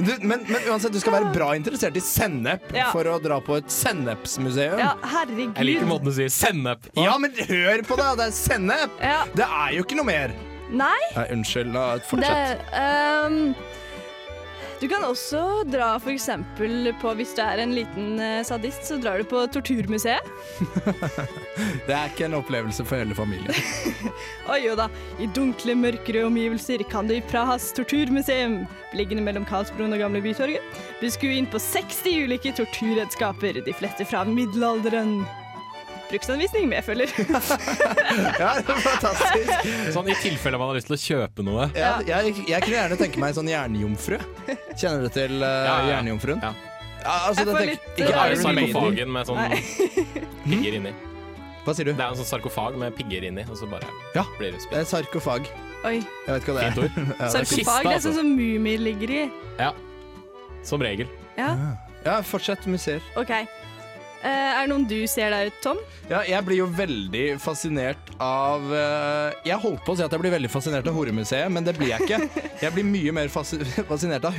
[SPEAKER 1] Du, men, men uansett, du skal være bra interessert i sennep
[SPEAKER 2] Ja.
[SPEAKER 1] for å dra på et sennepsmuseum. Ja.
[SPEAKER 2] ja,
[SPEAKER 3] Jeg liker
[SPEAKER 2] herregud.
[SPEAKER 3] måten du sier 'sennep' på.
[SPEAKER 1] men hør på det! Det er sennep!
[SPEAKER 2] Ja,
[SPEAKER 1] Det er jo ikke noe mer.
[SPEAKER 2] nei,
[SPEAKER 1] Nei, unnskyld. la-
[SPEAKER 2] det
[SPEAKER 1] Fortsett.
[SPEAKER 2] ehm,
[SPEAKER 6] Du kan også dra f.eks. på Hvis du er en liten eh, sadist, så drar du på Torturmuseet.
[SPEAKER 1] Det er ikke en opplevelse for hele familien.
[SPEAKER 6] Oi jo da, i dunkle, mørkere omgivelser kan du i Prahas torturmuseum, liggende mellom Karlsbroen og Gamle Bytorget, beskue inn på 60 ulike torturredskaper, de fleste fra middelalderen. Bruksanvisning medfølger.
[SPEAKER 1] Ja, det er fantastisk.
[SPEAKER 3] Sånn i tilfelle man har lyst til å kjøpe noe.
[SPEAKER 1] Ja, jeg, jeg kunne gjerne tenke meg en sånn jernjomfru. Kjenner du til eh,
[SPEAKER 3] ja, ja.
[SPEAKER 1] jernjomfruen?
[SPEAKER 3] Ja.
[SPEAKER 1] Ja, altså,
[SPEAKER 6] Jeg
[SPEAKER 1] det
[SPEAKER 6] får
[SPEAKER 1] tenker-
[SPEAKER 6] litt, eh,
[SPEAKER 1] ikke
[SPEAKER 3] Det er jo
[SPEAKER 1] Iron Maiden.
[SPEAKER 3] sarkofagen med sånn pigger inni.
[SPEAKER 1] Hva sier
[SPEAKER 3] Det
[SPEAKER 1] du?
[SPEAKER 3] er en sånn sarkofag med pigger inni, og så bare
[SPEAKER 1] Ja.
[SPEAKER 3] blir det
[SPEAKER 1] Eh,
[SPEAKER 3] spilt.
[SPEAKER 1] Sarkofag.
[SPEAKER 6] Oi.
[SPEAKER 1] Jeg vet ikke hva det
[SPEAKER 3] Fint
[SPEAKER 1] er.
[SPEAKER 3] ord.
[SPEAKER 1] Ja, det er fint.
[SPEAKER 3] Sarko-
[SPEAKER 6] Sarkofag, det er
[SPEAKER 3] altså.
[SPEAKER 6] sånn som mumier ligger i.
[SPEAKER 3] Ja. Som regel.
[SPEAKER 6] Ja,
[SPEAKER 1] Ja, fortsett museer.
[SPEAKER 6] OK. Eh, er det noen du ser der ute, Tom?
[SPEAKER 1] Ja, jeg blir jo veldig fascinert av eh, Jeg holdt på å si at jeg blir veldig fascinert av horemuseet, men det blir jeg ikke. Jeg blir mye mer fasi fascinert av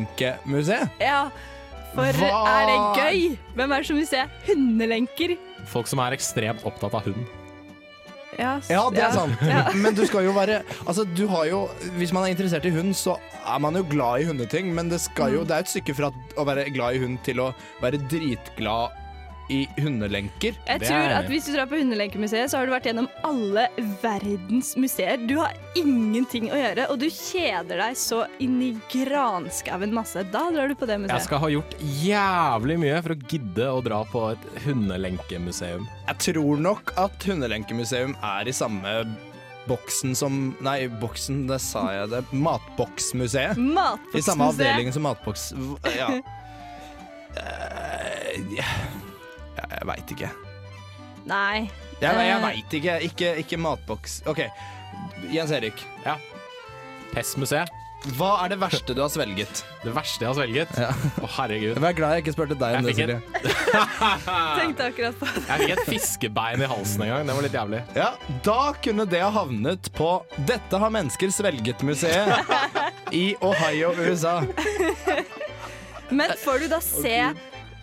[SPEAKER 1] hundelenkemuseet.
[SPEAKER 6] Ja, for
[SPEAKER 1] Hva?
[SPEAKER 6] er det gøy? Hvem er det som vil se hundelenker?
[SPEAKER 3] Folk som er ekstremt opptatt av hund.
[SPEAKER 6] Ja, s-
[SPEAKER 1] Ja, det er sant.
[SPEAKER 6] Ja.
[SPEAKER 1] Men du skal jo være Altså, du har jo Hvis man er interessert i hund, så er man jo glad i hundeting, men det skal
[SPEAKER 6] Mm.
[SPEAKER 1] jo Det er et stykke fra å være glad i hund til å være dritglad i hundelenker.
[SPEAKER 6] Jeg
[SPEAKER 3] Det er
[SPEAKER 6] tror
[SPEAKER 3] jeg enig
[SPEAKER 6] at
[SPEAKER 3] i.
[SPEAKER 6] Hvis du drar på Hundelenkemuseet, så har du vært gjennom alle verdens museer. Du har ingenting å gjøre, og du kjeder deg så inn i granskauen masse. Da drar du på
[SPEAKER 3] Jeg
[SPEAKER 6] det museet.
[SPEAKER 3] skal ha gjort jævlig mye for å gidde å dra på et hundelenkemuseum.
[SPEAKER 1] Jeg tror nok at Hundelenkemuseum er i samme boksen som Nei, boksen, det sa jeg det. Matboksmuseet. I samme avdeling som matboks... v- Ja. Eh, Jeg, jeg veit ikke.
[SPEAKER 6] Nei.
[SPEAKER 1] Jeg, jeg
[SPEAKER 6] Eh.
[SPEAKER 1] veit ikke. ikke. Ikke matboks. OK, Jens Erik.
[SPEAKER 3] Pestmuseet.
[SPEAKER 1] Hva er det verste du har svelget?
[SPEAKER 3] Det verste jeg har svelget. Å, herregud.
[SPEAKER 1] Jeg er glad jeg ikke spurte deg
[SPEAKER 3] om Jeg det, fikk Silje.
[SPEAKER 6] Tenkte akkurat på det.
[SPEAKER 3] Jeg fikk et fiskebein i halsen en gang. Det var litt jævlig.
[SPEAKER 1] Ja, Da kunne det ha havnet på 'Dette har mennesker svelget'-museet i Ohio, USA.
[SPEAKER 6] Men får du da se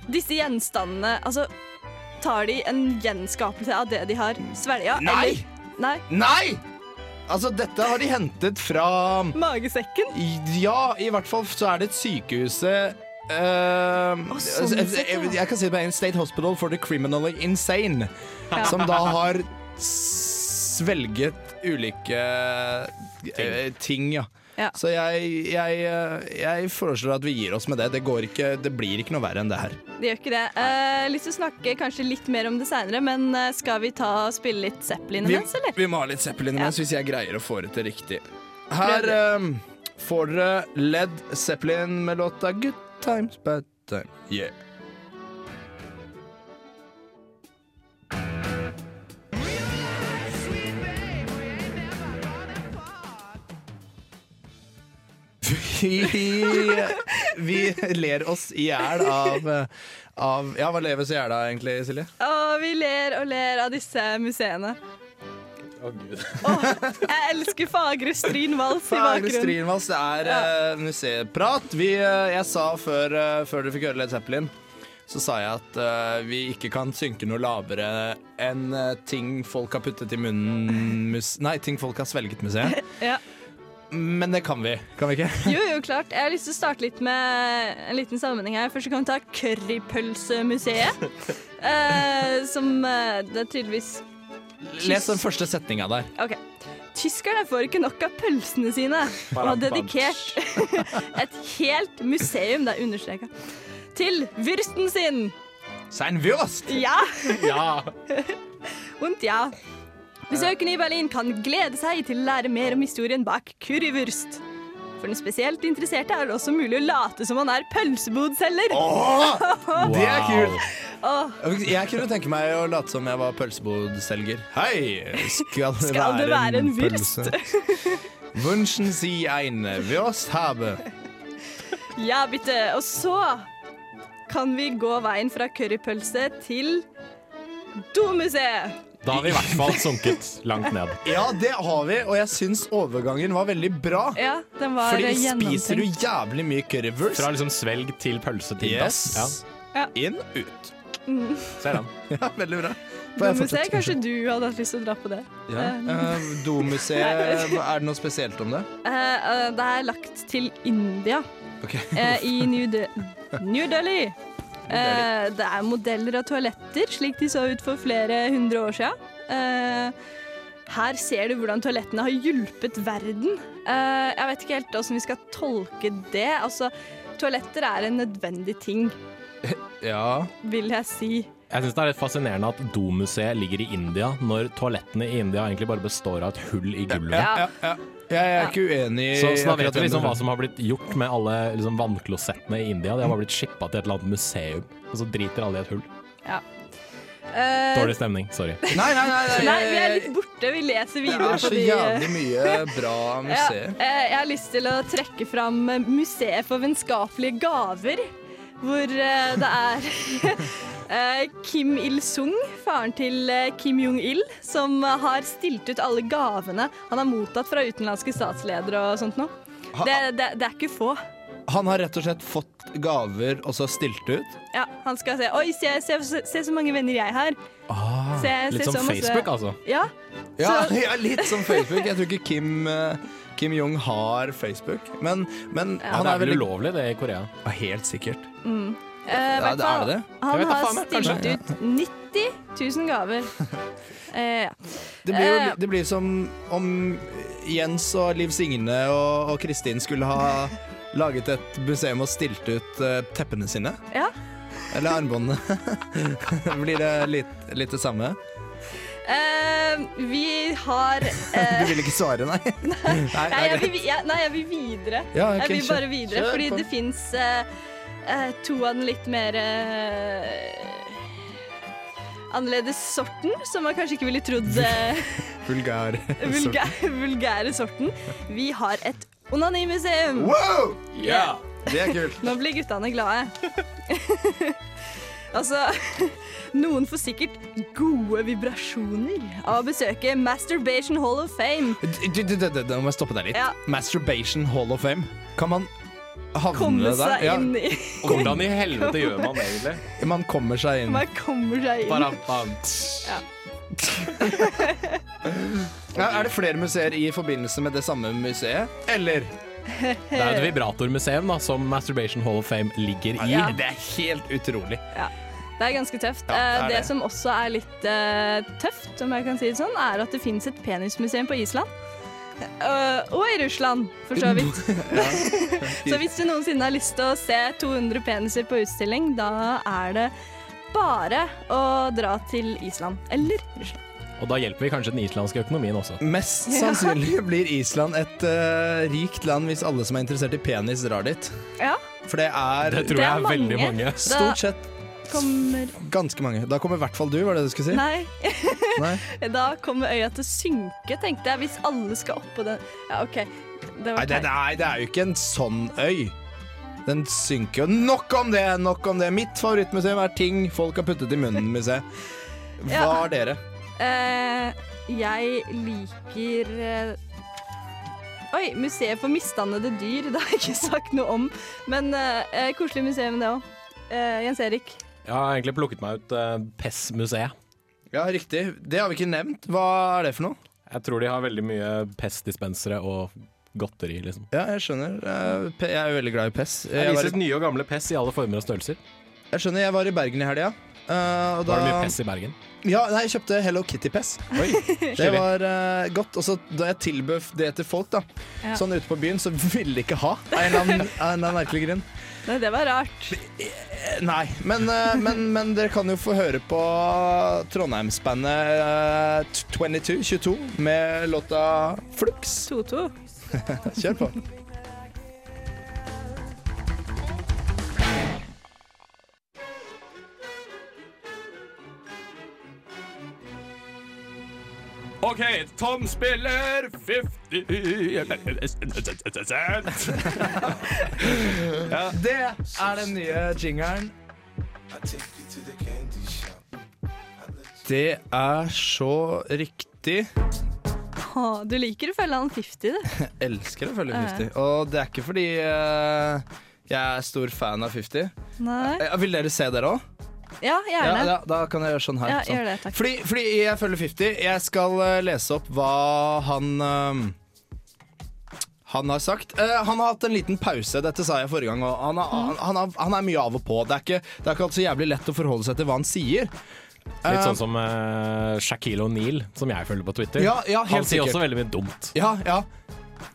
[SPEAKER 6] disse gjenstandene Altså, tar de en gjenskapelse av det de har svelga?
[SPEAKER 1] Nei!
[SPEAKER 6] Eller? Nei.
[SPEAKER 1] Nei! Altså, dette har de hentet fra
[SPEAKER 6] Magesekken?
[SPEAKER 1] Ja, i hvert fall så er det et sykehuset eh,
[SPEAKER 6] sånn
[SPEAKER 1] jeg,
[SPEAKER 6] sett, ja.
[SPEAKER 1] jeg, jeg kan si det på en State Hospital for the Criminally Insane, som da har svelget ulike eh, ting, ja.
[SPEAKER 6] Ja.
[SPEAKER 1] Så jeg, jeg, eh, jeg foreslår at vi gir oss med det. Det, går ikke, det blir ikke noe verre enn det her.
[SPEAKER 6] Det gjør ikke det. Eh, lyst til å snakke kanskje litt mer om det seinere, men eh, skal vi ta og spille litt Zeppelin
[SPEAKER 1] Vi,
[SPEAKER 6] imens, eller?
[SPEAKER 1] vi må ha litt Zeppelin
[SPEAKER 6] Ja.
[SPEAKER 1] imens, hvis jeg greier å få det til riktig. Her eh, får dere Led Zeppelin med låta 'Good Times Bad Time'. Yeah. Vi, vi ler oss i hjel av, eh, av Ja, hva leves i hjel av egentlig, Silje?
[SPEAKER 6] Og vi ler og ler av disse museene.
[SPEAKER 3] Å, Gud.
[SPEAKER 6] Jeg elsker Fagre Stryn vals i
[SPEAKER 1] Fagre
[SPEAKER 6] bakgrunnen.
[SPEAKER 1] Strynvals, det er eh, museeprat. Vi, eh, jeg sa før, eh, før dere fikk høre Led Zeppelin, så sa jeg at eh, vi ikke kan synke noe lavere enn eh, ting folk har puttet i munnen mus Nei, ting folk har svelget museet.
[SPEAKER 6] Ja.
[SPEAKER 1] Men det kan vi, kan vi ikke?
[SPEAKER 6] Jo, jo, klart. Jeg har lyst til å starte litt med en liten sammenheng her. Først så kan vi ta Currypølsemuseet. eh, som eh, det er tydeligvis
[SPEAKER 1] Les den første setninga der.
[SPEAKER 6] OK. Tyskerne får ikke nok av pølsene sine, og har dedikert et helt museum, det er understreka, til vyrsten sin.
[SPEAKER 1] Sein Wurst!
[SPEAKER 6] Ja!
[SPEAKER 3] Ja.
[SPEAKER 6] Vondt, ja. Besøkende i Berlin kan glede seg til å lære mer om historien bak kurvurst. For den spesielt interesserte er det også mulig å late som han er pølsebodselger.
[SPEAKER 1] Åh, det er kult!
[SPEAKER 6] Åh.
[SPEAKER 1] Jeg kunne tenke meg å late som jeg var pølsebodselger. Hei! Skal det,
[SPEAKER 6] Skal det være en Wurst?
[SPEAKER 1] pølse? Wünschen Sie eine Wurst habe.
[SPEAKER 6] Ja, bitte. Og så kan vi gå veien fra currypølse til domuseet.
[SPEAKER 3] Da har vi i hvert fall sunket langt ned.
[SPEAKER 1] Ja, det har vi, og jeg syns overgangen var veldig bra.
[SPEAKER 6] Ja, den var
[SPEAKER 1] Fordi spiser du
[SPEAKER 6] gjennomtenkt.
[SPEAKER 1] jævlig mye currywurst.
[SPEAKER 3] Fra liksom svelg til pølse til
[SPEAKER 1] yes.
[SPEAKER 3] dass.
[SPEAKER 6] Ja.
[SPEAKER 1] Inn, ut.
[SPEAKER 3] Ja, ser den.
[SPEAKER 1] Ja, veldig bra. Får jeg
[SPEAKER 6] Domuseet,
[SPEAKER 1] fortsette?
[SPEAKER 6] kanskje du hadde hatt lyst til å dra på det.
[SPEAKER 1] Ja. Eh, Domuseet, er det noe spesielt om det?
[SPEAKER 6] Eh, eh, det er lagt til India.
[SPEAKER 1] Ok.
[SPEAKER 6] eh, i New, De New Delhi. Eh, det er modeller av toaletter, slik de så ut for flere hundre år siden. Eh, her ser du hvordan toalettene har hjulpet verden. Eh, jeg vet ikke helt hvordan vi skal tolke det. Altså, toaletter er en nødvendig ting,
[SPEAKER 1] Ja.
[SPEAKER 6] vil jeg si.
[SPEAKER 3] Jeg syns det er litt fascinerende at domuseet ligger i India, når toalettene i India egentlig bare består av et hull i gulvet.
[SPEAKER 6] Ja.
[SPEAKER 1] Ja, ja. Jeg er ikke uenig i
[SPEAKER 3] Så, så da
[SPEAKER 1] akkurat
[SPEAKER 3] vet vi
[SPEAKER 1] den
[SPEAKER 3] liksom hva
[SPEAKER 1] vurderingen.
[SPEAKER 3] som har blitt gjort med alle liksom, vannklosettene i India. De har bare blitt shippa til et eller annet museum, og så driter alle i et hull.
[SPEAKER 6] Eh,
[SPEAKER 3] Dårlig stemning, sorry.
[SPEAKER 1] Nei, nei, nei. nei,
[SPEAKER 6] nei, vi er litt borte. Vi leser
[SPEAKER 1] Det
[SPEAKER 6] videre
[SPEAKER 1] er så
[SPEAKER 6] på de eh,
[SPEAKER 1] jævlig mye bra museer.
[SPEAKER 6] Ja, eh, jeg har lyst til å trekke fram eh, Museet for vennskapelige gaver, hvor eh, det er eh, Kim Il-sung, faren til eh, Kim Jong-il, som eh, har stilt ut alle gavene han har mottatt fra utenlandske statsledere og sånt noe.
[SPEAKER 1] Ha-
[SPEAKER 6] Det, det, det er ikke få.
[SPEAKER 1] Han har rett og slett fått gaver og så stilt ut.
[SPEAKER 6] Ja, han skal se Oi, se, se, se, se så mange venner jeg har.
[SPEAKER 3] Ah.
[SPEAKER 6] se,
[SPEAKER 3] Litt som Facebook, altså.
[SPEAKER 6] Ja,
[SPEAKER 1] Ja,
[SPEAKER 6] Så-
[SPEAKER 1] ja, litt som Facebook. Jeg tror ikke Kim, eh, Kim Jong har Facebook, men, men
[SPEAKER 3] Ja,
[SPEAKER 1] han
[SPEAKER 3] det
[SPEAKER 1] er
[SPEAKER 3] er vel
[SPEAKER 1] veldig
[SPEAKER 3] ulovlig, det, i Korea.
[SPEAKER 1] Ja, Helt sikkert.
[SPEAKER 6] eh, hvert
[SPEAKER 1] det er
[SPEAKER 6] fall,
[SPEAKER 1] det.
[SPEAKER 6] Han
[SPEAKER 3] vet da
[SPEAKER 6] har
[SPEAKER 3] faen, jeg,
[SPEAKER 6] stilt ut 90 000 gaver. Eh, ja.
[SPEAKER 1] Det blir, jo,
[SPEAKER 6] Eh.
[SPEAKER 1] det blir som om Jens og Liv Signe og, og Kristin skulle ha laget et museum og stilt ut eh, teppene sine.
[SPEAKER 6] Ja.
[SPEAKER 1] Eller armbåndene. blir det litt, litt det samme?
[SPEAKER 6] Eh, vi har eh,
[SPEAKER 1] Du vil ikke svare, nei? Nei,
[SPEAKER 6] nei, jeg
[SPEAKER 1] ok.
[SPEAKER 6] vil, vi- jeg, nei, jeg vil videre.
[SPEAKER 1] Ja, ok,
[SPEAKER 6] jeg vil
[SPEAKER 1] kjør-
[SPEAKER 6] bare videre,
[SPEAKER 1] kjør
[SPEAKER 6] fordi
[SPEAKER 1] på.
[SPEAKER 6] det fins to av den litt mer eh, annerledes sorten, som man kanskje ikke ville trodd eh,
[SPEAKER 1] Vulgær.
[SPEAKER 6] vulgæ vulgære sorten. Vi har et onanimuseum.
[SPEAKER 1] Wow! Det er kult.
[SPEAKER 6] Nå blir guttene glade. altså Noen får sikkert gode vibrasjoner av å besøke Masturbation Hall of Fame.
[SPEAKER 1] Du, du, du, du, Nå må jeg stoppe deg litt.
[SPEAKER 6] Ja.
[SPEAKER 1] Masturbation Hall of Fame. Kan man havne
[SPEAKER 6] komme seg
[SPEAKER 1] der? Ja,
[SPEAKER 6] inn i
[SPEAKER 3] Hvordan i helvete gjør man det, egentlig?
[SPEAKER 1] man kommer seg inn.
[SPEAKER 6] Man kommer seg inn.
[SPEAKER 3] Bare, bare.
[SPEAKER 1] Ja, er det flere museer i forbindelse med det samme museet? Eller?
[SPEAKER 3] Det er jo et vibratormuseum da, som Masturbation Hall of Fame ligger i.
[SPEAKER 6] Ja.
[SPEAKER 1] Det er helt utrolig.
[SPEAKER 6] Det er ganske tøft.
[SPEAKER 1] Ja, det er
[SPEAKER 6] Eh, det,
[SPEAKER 1] det.
[SPEAKER 6] som også er litt eh, tøft, om jeg kan si det sånn, er at det finnes et penismuseum på Island. Eh, og i Russland, for så vidt. så hvis du noensinne har lyst til å se 200 peniser på utstilling, da er det bare å dra til Island eller Russland.
[SPEAKER 3] Og da hjelper vi kanskje den islandske økonomien også.
[SPEAKER 1] Mest sannsynlig blir Island et eh, rikt land hvis alle som er interessert i penis, drar dit.
[SPEAKER 6] Ja,
[SPEAKER 1] For det er
[SPEAKER 3] Det tror
[SPEAKER 6] Det
[SPEAKER 3] jeg
[SPEAKER 6] er
[SPEAKER 3] er veldig
[SPEAKER 6] mange.
[SPEAKER 3] mange.
[SPEAKER 1] stort sett
[SPEAKER 6] kommer
[SPEAKER 1] ganske mange. Da kommer i hvert fall du, var det det du skulle si?
[SPEAKER 6] Nei.
[SPEAKER 1] Nei.
[SPEAKER 6] Da kommer øya til å synke, tenkte jeg, hvis alle skal oppå den. Ja, OK. Det
[SPEAKER 1] Nei,
[SPEAKER 6] var
[SPEAKER 1] det,
[SPEAKER 6] teit.
[SPEAKER 1] nei, det er jo ikke en sånn øy. Den synker jo. Nok om det! nok om det Mitt favorittmuseum er ting folk har puttet i munnen-museet. Hva
[SPEAKER 6] Ja.
[SPEAKER 1] er dere?
[SPEAKER 6] Eh, jeg liker eh, Oi, Museet for misdannede dyr. Det har jeg ikke sagt noe om. Men eh, eh, koselig museum, det òg. Eh, Jens Erik.
[SPEAKER 3] Jeg har egentlig plukket meg ut eh, PES-museet.
[SPEAKER 1] Ja, Riktig. Det har vi ikke nevnt. Hva er det for noe?
[SPEAKER 3] Jeg tror de har veldig mye PES-dispensere og godteri, liksom.
[SPEAKER 1] Ja, jeg skjønner. Eh, pe- Jeg er jo veldig glad i PES.
[SPEAKER 3] Jeg
[SPEAKER 1] Jeg, var,
[SPEAKER 3] vises nye og gamle PES i alle former og størrelser.
[SPEAKER 1] i- jeg skjønner, jeg var i Bergen i helga. eh, og
[SPEAKER 3] Var det
[SPEAKER 1] da-
[SPEAKER 3] mye PES i Bergen?
[SPEAKER 1] Ja, nei, jeg kjøpte Hello Kitty-pess. Det var eh, godt. Og så da jeg tilbød det til folk, da,
[SPEAKER 6] Ja.
[SPEAKER 1] sånn ute på byen, så ville de ikke ha. Av en eller annen, av en eller annen merkelig grunn.
[SPEAKER 6] Nei, det var rart.
[SPEAKER 1] Eh, Nei, men, eh, men, men dere kan jo få høre på Trondheimsbandet eh, 22, 22 med låta Flux.
[SPEAKER 6] Toto.
[SPEAKER 1] Kjør på.
[SPEAKER 8] OK, Tom spiller 50 cent.
[SPEAKER 1] Det er den nye jingeren. Det er så riktig.
[SPEAKER 6] Å, du liker å følge han 50, du.
[SPEAKER 1] elsker å følge 50. Og det er ikke fordi eh, jeg er stor fan av 50.
[SPEAKER 6] Nei.
[SPEAKER 1] Eh, vil dere se dere òg?
[SPEAKER 6] Ja,
[SPEAKER 1] Ja,
[SPEAKER 6] gjerne.
[SPEAKER 1] da, da kan jeg gjøre sånn her.
[SPEAKER 6] Ja,
[SPEAKER 1] sånn.
[SPEAKER 6] gjør det, takk.
[SPEAKER 1] Fordi, fordi jeg følger 50. Jeg skal eh, lese opp hva han eh, han har sagt. Eh, han har hatt en liten pause, dette sa jeg forrige gang. Og han, har,
[SPEAKER 6] Mhm.
[SPEAKER 1] han, han, har, han er mye av og på. Det er ikke, det er ikke alltid så jævlig lett å forholde seg til hva han sier.
[SPEAKER 3] Litt sånn som eh, Shaquille O'Neal, som jeg følger på Twitter.
[SPEAKER 1] Ja, ja, helt
[SPEAKER 3] han sier
[SPEAKER 1] sikkert.
[SPEAKER 3] også veldig mye dumt.
[SPEAKER 1] Ja, ja.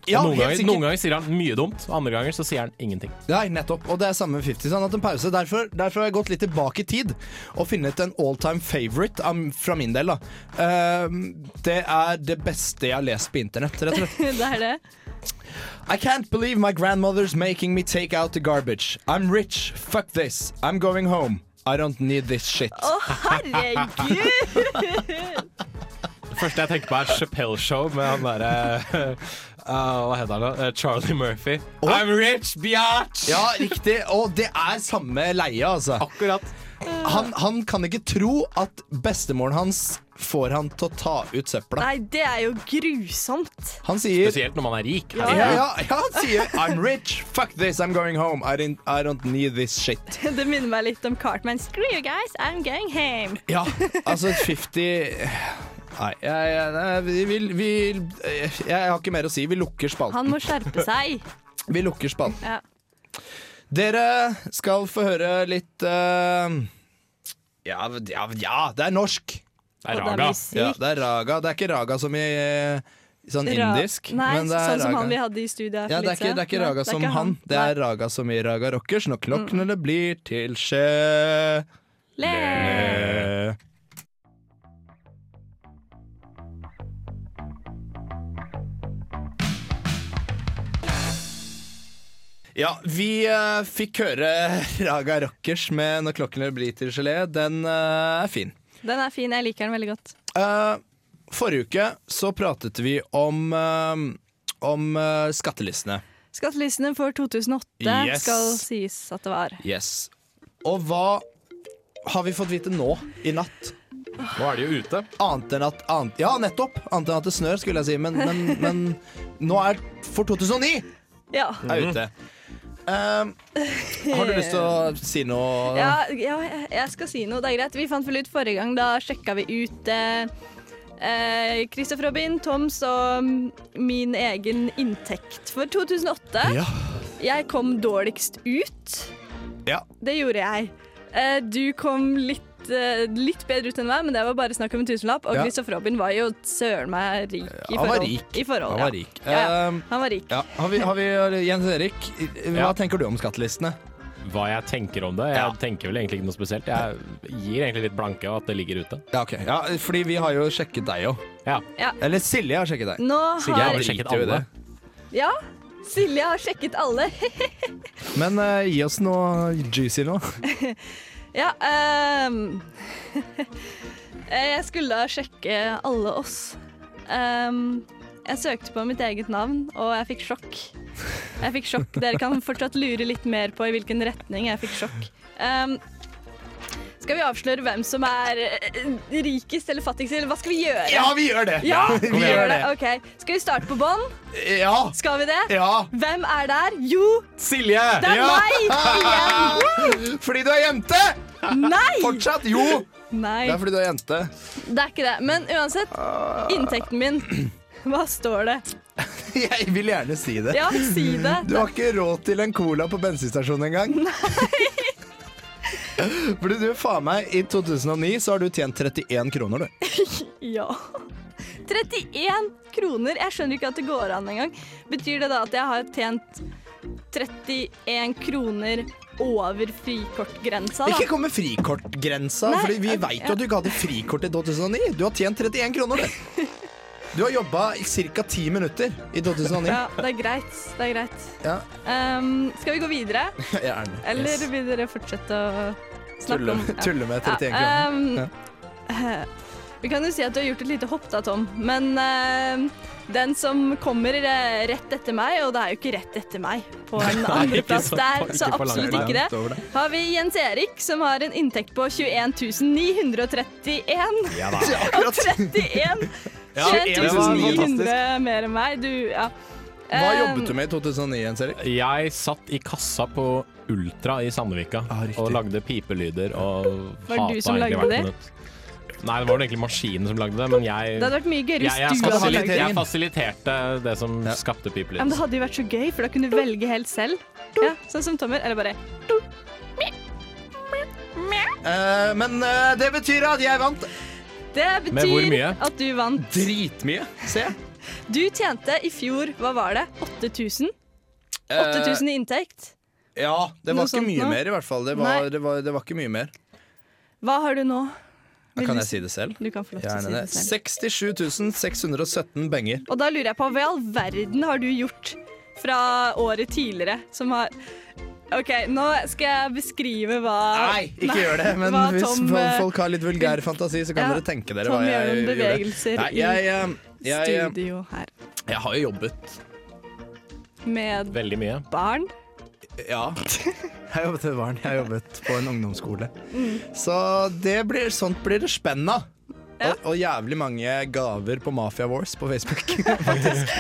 [SPEAKER 1] Ja,
[SPEAKER 3] noen,
[SPEAKER 1] helt
[SPEAKER 3] ganger,
[SPEAKER 1] sikkert.
[SPEAKER 3] noen ganger sier han mye dumt, andre ganger så sier han ingenting.
[SPEAKER 1] Nei, nettopp. Og det er samme med 50. Så han har hatt en pause. Derfor, derfor har jeg gått litt tilbake i tid og funnet en all time favorite av, fra min del. da. Ehm, det er det beste jeg har lest på internett, rett og slett.
[SPEAKER 6] det er det.
[SPEAKER 1] I can't believe my grandmother's making me take out the garbage. I'm rich. Fuck this. I'm going home. I don't need this shit.
[SPEAKER 6] Å, herregud!
[SPEAKER 3] Det første jeg tenker på, er Chappelle Show med han derre eh, Hva heter han da? Eh, Charlie Murphy. I'm rich, biatch!
[SPEAKER 1] Ja, riktig. Og det er samme leie, altså.
[SPEAKER 3] Akkurat.
[SPEAKER 1] Han, han kan ikke tro at bestemoren hans får han til å ta ut søpla.
[SPEAKER 6] Nei, det er jo grusomt.
[SPEAKER 1] Han sier
[SPEAKER 3] Spesielt når man er rik.
[SPEAKER 1] ja,
[SPEAKER 3] Herregud.
[SPEAKER 1] ja, ja, han sier I'm rich, fuck this, I'm going home. I, didn't, I don't need this shit.
[SPEAKER 6] Det minner meg litt om Cartman. Screw you guys, I'm going home.
[SPEAKER 1] Ja, altså 50 Nei, jeg, jeg, nei, vi, vi, vi, jeg, jeg har ikke mer å si. Vi lukker spalten.
[SPEAKER 6] Han må skjerpe seg.
[SPEAKER 1] Vi lukker spalten.
[SPEAKER 6] Ja.
[SPEAKER 1] Dere skal få høre litt eh, ja, ja, ja, det er norsk.
[SPEAKER 3] Det er
[SPEAKER 6] Og det er
[SPEAKER 3] Raga.
[SPEAKER 6] musikk.
[SPEAKER 1] Ja, det er raga. Det er ikke raga som i eh, sånn
[SPEAKER 6] Ra-
[SPEAKER 1] indisk.
[SPEAKER 6] Nei,
[SPEAKER 1] men det er
[SPEAKER 6] sånn som
[SPEAKER 1] raga.
[SPEAKER 6] han vi hadde i studio her for
[SPEAKER 1] ja, det, er
[SPEAKER 6] litt
[SPEAKER 1] ikke,
[SPEAKER 6] siden.
[SPEAKER 1] det er ikke
[SPEAKER 6] Nei,
[SPEAKER 1] raga
[SPEAKER 6] det er
[SPEAKER 1] som
[SPEAKER 6] ikke
[SPEAKER 1] han, det
[SPEAKER 6] Nei. Mm.
[SPEAKER 1] er raga som i Raga Rockers. Når klokkene blir til skje
[SPEAKER 6] Le.
[SPEAKER 1] Ja, vi eh, fikk høre Raga Rockers med 'Når klokkene blir til gelé'. Den eh, er fin.
[SPEAKER 6] Den er fin, jeg liker den veldig godt.
[SPEAKER 1] Eh, forrige uke så pratet vi om, eh, om eh, skattelistene.
[SPEAKER 6] Skattelistene for 2008
[SPEAKER 1] Yes.
[SPEAKER 6] skal sies at det var.
[SPEAKER 1] Yes. Og hva har vi fått vite nå i natt?
[SPEAKER 3] Nå er de jo ute.
[SPEAKER 1] Annet enn at annet, Ja, nettopp! Annet enn at det snør, skulle jeg si. Men, men, men nå er for 2009
[SPEAKER 6] Ja.
[SPEAKER 3] Mhm.
[SPEAKER 1] er ute. Ehm, har du lyst til å si noe?
[SPEAKER 6] Ja, ja, jeg skal si noe. Det er greit. Vi fant vel ut forrige gang, da sjekka vi ut eh, eh, Christopher Robin, Toms og mm, min egen inntekt for 2008.
[SPEAKER 1] Ja.
[SPEAKER 6] Jeg kom dårligst ut.
[SPEAKER 1] Ja.
[SPEAKER 6] Det gjorde jeg. Eh, Du kom litt eh, Litt bedre ut enn meg, men det var bare snakk om en tusenlapp. Og
[SPEAKER 1] Ja.
[SPEAKER 6] Christopher Robin var jo søren meg rik i
[SPEAKER 1] Ja, han var
[SPEAKER 6] forhold.
[SPEAKER 1] rik.
[SPEAKER 6] I forhold
[SPEAKER 1] Han
[SPEAKER 6] ja.
[SPEAKER 1] var rik.
[SPEAKER 6] Ja, ja.
[SPEAKER 1] Ehm,
[SPEAKER 6] Han var rik.
[SPEAKER 1] ja. Har, vi, har vi Jens Erik, hva
[SPEAKER 3] Ja.
[SPEAKER 1] tenker du om skattelistene?
[SPEAKER 3] Hva jeg tenker om det? Jeg
[SPEAKER 1] Ja.
[SPEAKER 3] tenker vel egentlig ikke noe spesielt. Jeg gir egentlig litt blanke av at det ligger ute.
[SPEAKER 1] Ja, ok. Ja, fordi vi har jo sjekket deg òg.
[SPEAKER 3] Ja.
[SPEAKER 1] Eller Silje har sjekket deg.
[SPEAKER 6] Nå
[SPEAKER 3] Sigurd
[SPEAKER 6] har
[SPEAKER 3] har vel sjekket
[SPEAKER 1] driter jo i
[SPEAKER 3] alle.
[SPEAKER 1] det.
[SPEAKER 6] Ja, Silje har sjekket alle.
[SPEAKER 1] Men eh, gi oss noe juicy nå.
[SPEAKER 6] Ja, ehm, eh, Jeg skulle da sjekke alle oss. Ehm, jeg søkte på mitt eget navn, og jeg fikk sjokk. Jeg fikk sjokk. Dere kan fortsatt lure litt mer på i hvilken retning jeg fikk sjokk. Ehm, skal vi avsløre hvem som er eh, rikest eller fattigst, eller hva skal vi gjøre?
[SPEAKER 1] Ja, vi gjør det!
[SPEAKER 6] Ja,
[SPEAKER 1] vi gjør det.
[SPEAKER 6] Ok, Skal vi starte på bånn?
[SPEAKER 1] Ja!
[SPEAKER 6] Skal vi det?
[SPEAKER 1] Ja!
[SPEAKER 6] Hvem er der? Jo,
[SPEAKER 1] Silje!
[SPEAKER 6] det er meg igjen!
[SPEAKER 1] Fordi du er jente!
[SPEAKER 6] Nei!
[SPEAKER 1] Fortsatt, jo!
[SPEAKER 6] Nei.
[SPEAKER 1] Det er fordi du er jente.
[SPEAKER 6] Det er ikke det. Men uansett, inntekten min Hva står det?
[SPEAKER 1] Jeg vil gjerne si det.
[SPEAKER 6] Ja, si det.
[SPEAKER 1] Du har ikke råd til en cola på bensinstasjonen engang. Fordi du, faen meg, i 2009 så har du tjent 31 kroner, du.
[SPEAKER 6] Ja. 31 kroner! Jeg skjønner ikke at det går an engang. Betyr det da at jeg har tjent 31 kroner over frikortgrensa,
[SPEAKER 1] Ikke
[SPEAKER 6] da?
[SPEAKER 1] kom med frikortgrensa,
[SPEAKER 6] Nei,
[SPEAKER 1] Fordi vi
[SPEAKER 6] eh,
[SPEAKER 1] veit
[SPEAKER 6] ja.
[SPEAKER 1] jo at du ikke hadde frikort i 2009. Du har tjent 31 kroner, du. Du har jobba ca. 10 minutter i 2009.
[SPEAKER 6] Ja, det er greit. Det er greit.
[SPEAKER 1] Ja.
[SPEAKER 6] Ehm, skal vi gå videre,
[SPEAKER 1] Gjerne.
[SPEAKER 6] eller
[SPEAKER 1] Yes.
[SPEAKER 6] vil dere fortsette å snakke
[SPEAKER 1] Tulle,
[SPEAKER 6] om ja.
[SPEAKER 1] tulle med 31
[SPEAKER 6] Ja,
[SPEAKER 1] kroner.
[SPEAKER 6] ehm, eh, Vi kan jo si at du har gjort et lite hopp da, Tom, men ehm, den som kommer eh, rett etter meg, og det er jo ikke rett etter meg på en andreplass
[SPEAKER 3] så-
[SPEAKER 6] der,
[SPEAKER 3] ikke
[SPEAKER 6] så
[SPEAKER 3] på langt
[SPEAKER 6] absolutt
[SPEAKER 3] nær.
[SPEAKER 6] ikke
[SPEAKER 1] Langt over
[SPEAKER 6] det, har vi Jens Erik som har en inntekt på 21 931.
[SPEAKER 3] Ja da.
[SPEAKER 6] Og 31
[SPEAKER 3] Ja, det var
[SPEAKER 6] 900 mer enn meg. Du, ja.
[SPEAKER 1] Hva
[SPEAKER 6] Eh,
[SPEAKER 1] jobbet du med i 2009, Jens Erik?
[SPEAKER 3] Jeg satt i kassa på Ultra i Sandvika
[SPEAKER 1] Ah, riktig.
[SPEAKER 3] og lagde pipelyder og
[SPEAKER 6] Var det du som lagde
[SPEAKER 3] hvert minutt. Nei, det var jo egentlig maskinen som lagde det, men jeg
[SPEAKER 6] Det hadde vært mye gøyere
[SPEAKER 3] jeg, jeg,
[SPEAKER 6] hvis du hadde
[SPEAKER 3] fasiliter,
[SPEAKER 6] lagd det.
[SPEAKER 3] jeg fasiliterte det som skapte
[SPEAKER 6] Ja, men det
[SPEAKER 3] pipelyd.
[SPEAKER 6] hadde jo vært så gøy, for da kunne du velge helt selv. Ja, sånn som Tommer. Eller bare
[SPEAKER 1] Eh, men eh, det betyr at jeg vant
[SPEAKER 6] Det
[SPEAKER 3] Med hvor
[SPEAKER 6] betyr
[SPEAKER 3] mye?
[SPEAKER 6] at du vant.
[SPEAKER 1] dritmye, se.
[SPEAKER 6] Du tjente i fjor, hva var det, 8000?
[SPEAKER 1] Eh,
[SPEAKER 6] 8000 i inntekt.
[SPEAKER 1] ja, det
[SPEAKER 6] Noe
[SPEAKER 1] var ikke
[SPEAKER 6] sånt
[SPEAKER 1] mye
[SPEAKER 6] nå?
[SPEAKER 1] mer i hvert fall. Det
[SPEAKER 6] Nei.
[SPEAKER 1] var, det var, det var ikke mye mer.
[SPEAKER 6] Hva har du nå? Vil
[SPEAKER 1] Kan
[SPEAKER 6] du
[SPEAKER 1] jeg si det selv?
[SPEAKER 6] Du kan få lov til å si
[SPEAKER 1] Gjerne
[SPEAKER 6] det
[SPEAKER 1] det. 67
[SPEAKER 6] selv.
[SPEAKER 1] 617 benger.
[SPEAKER 6] Og da lurer jeg på hva i all verden har du gjort fra året tidligere som har OK, nå skal jeg beskrive hva
[SPEAKER 1] Nei, ikke gjør det, men
[SPEAKER 6] Ah. Hva
[SPEAKER 1] hvis
[SPEAKER 6] Tom,
[SPEAKER 1] fol-
[SPEAKER 6] eh,
[SPEAKER 1] folk har litt vulgær fantasi, så kan
[SPEAKER 6] ja,
[SPEAKER 1] dere tenke dere
[SPEAKER 6] Tom
[SPEAKER 1] hva
[SPEAKER 6] gjør
[SPEAKER 1] jeg
[SPEAKER 6] noen
[SPEAKER 1] gjorde.
[SPEAKER 6] bevegelser
[SPEAKER 1] Nei, jeg, eh, jeg,
[SPEAKER 6] i
[SPEAKER 1] eh,
[SPEAKER 6] studio her
[SPEAKER 1] jeg har jo jobbet.
[SPEAKER 6] med
[SPEAKER 3] Veldig mye.
[SPEAKER 6] barn.
[SPEAKER 1] Ja. Jeg har jobbet med barn. Jeg har jobbet på en ungdomsskole.
[SPEAKER 6] Mm.
[SPEAKER 1] Så det blir, sånt blir det spenna.
[SPEAKER 6] Ja.
[SPEAKER 1] Og, og jævlig mange gaver på Mafia Wars på Facebook. Faktisk.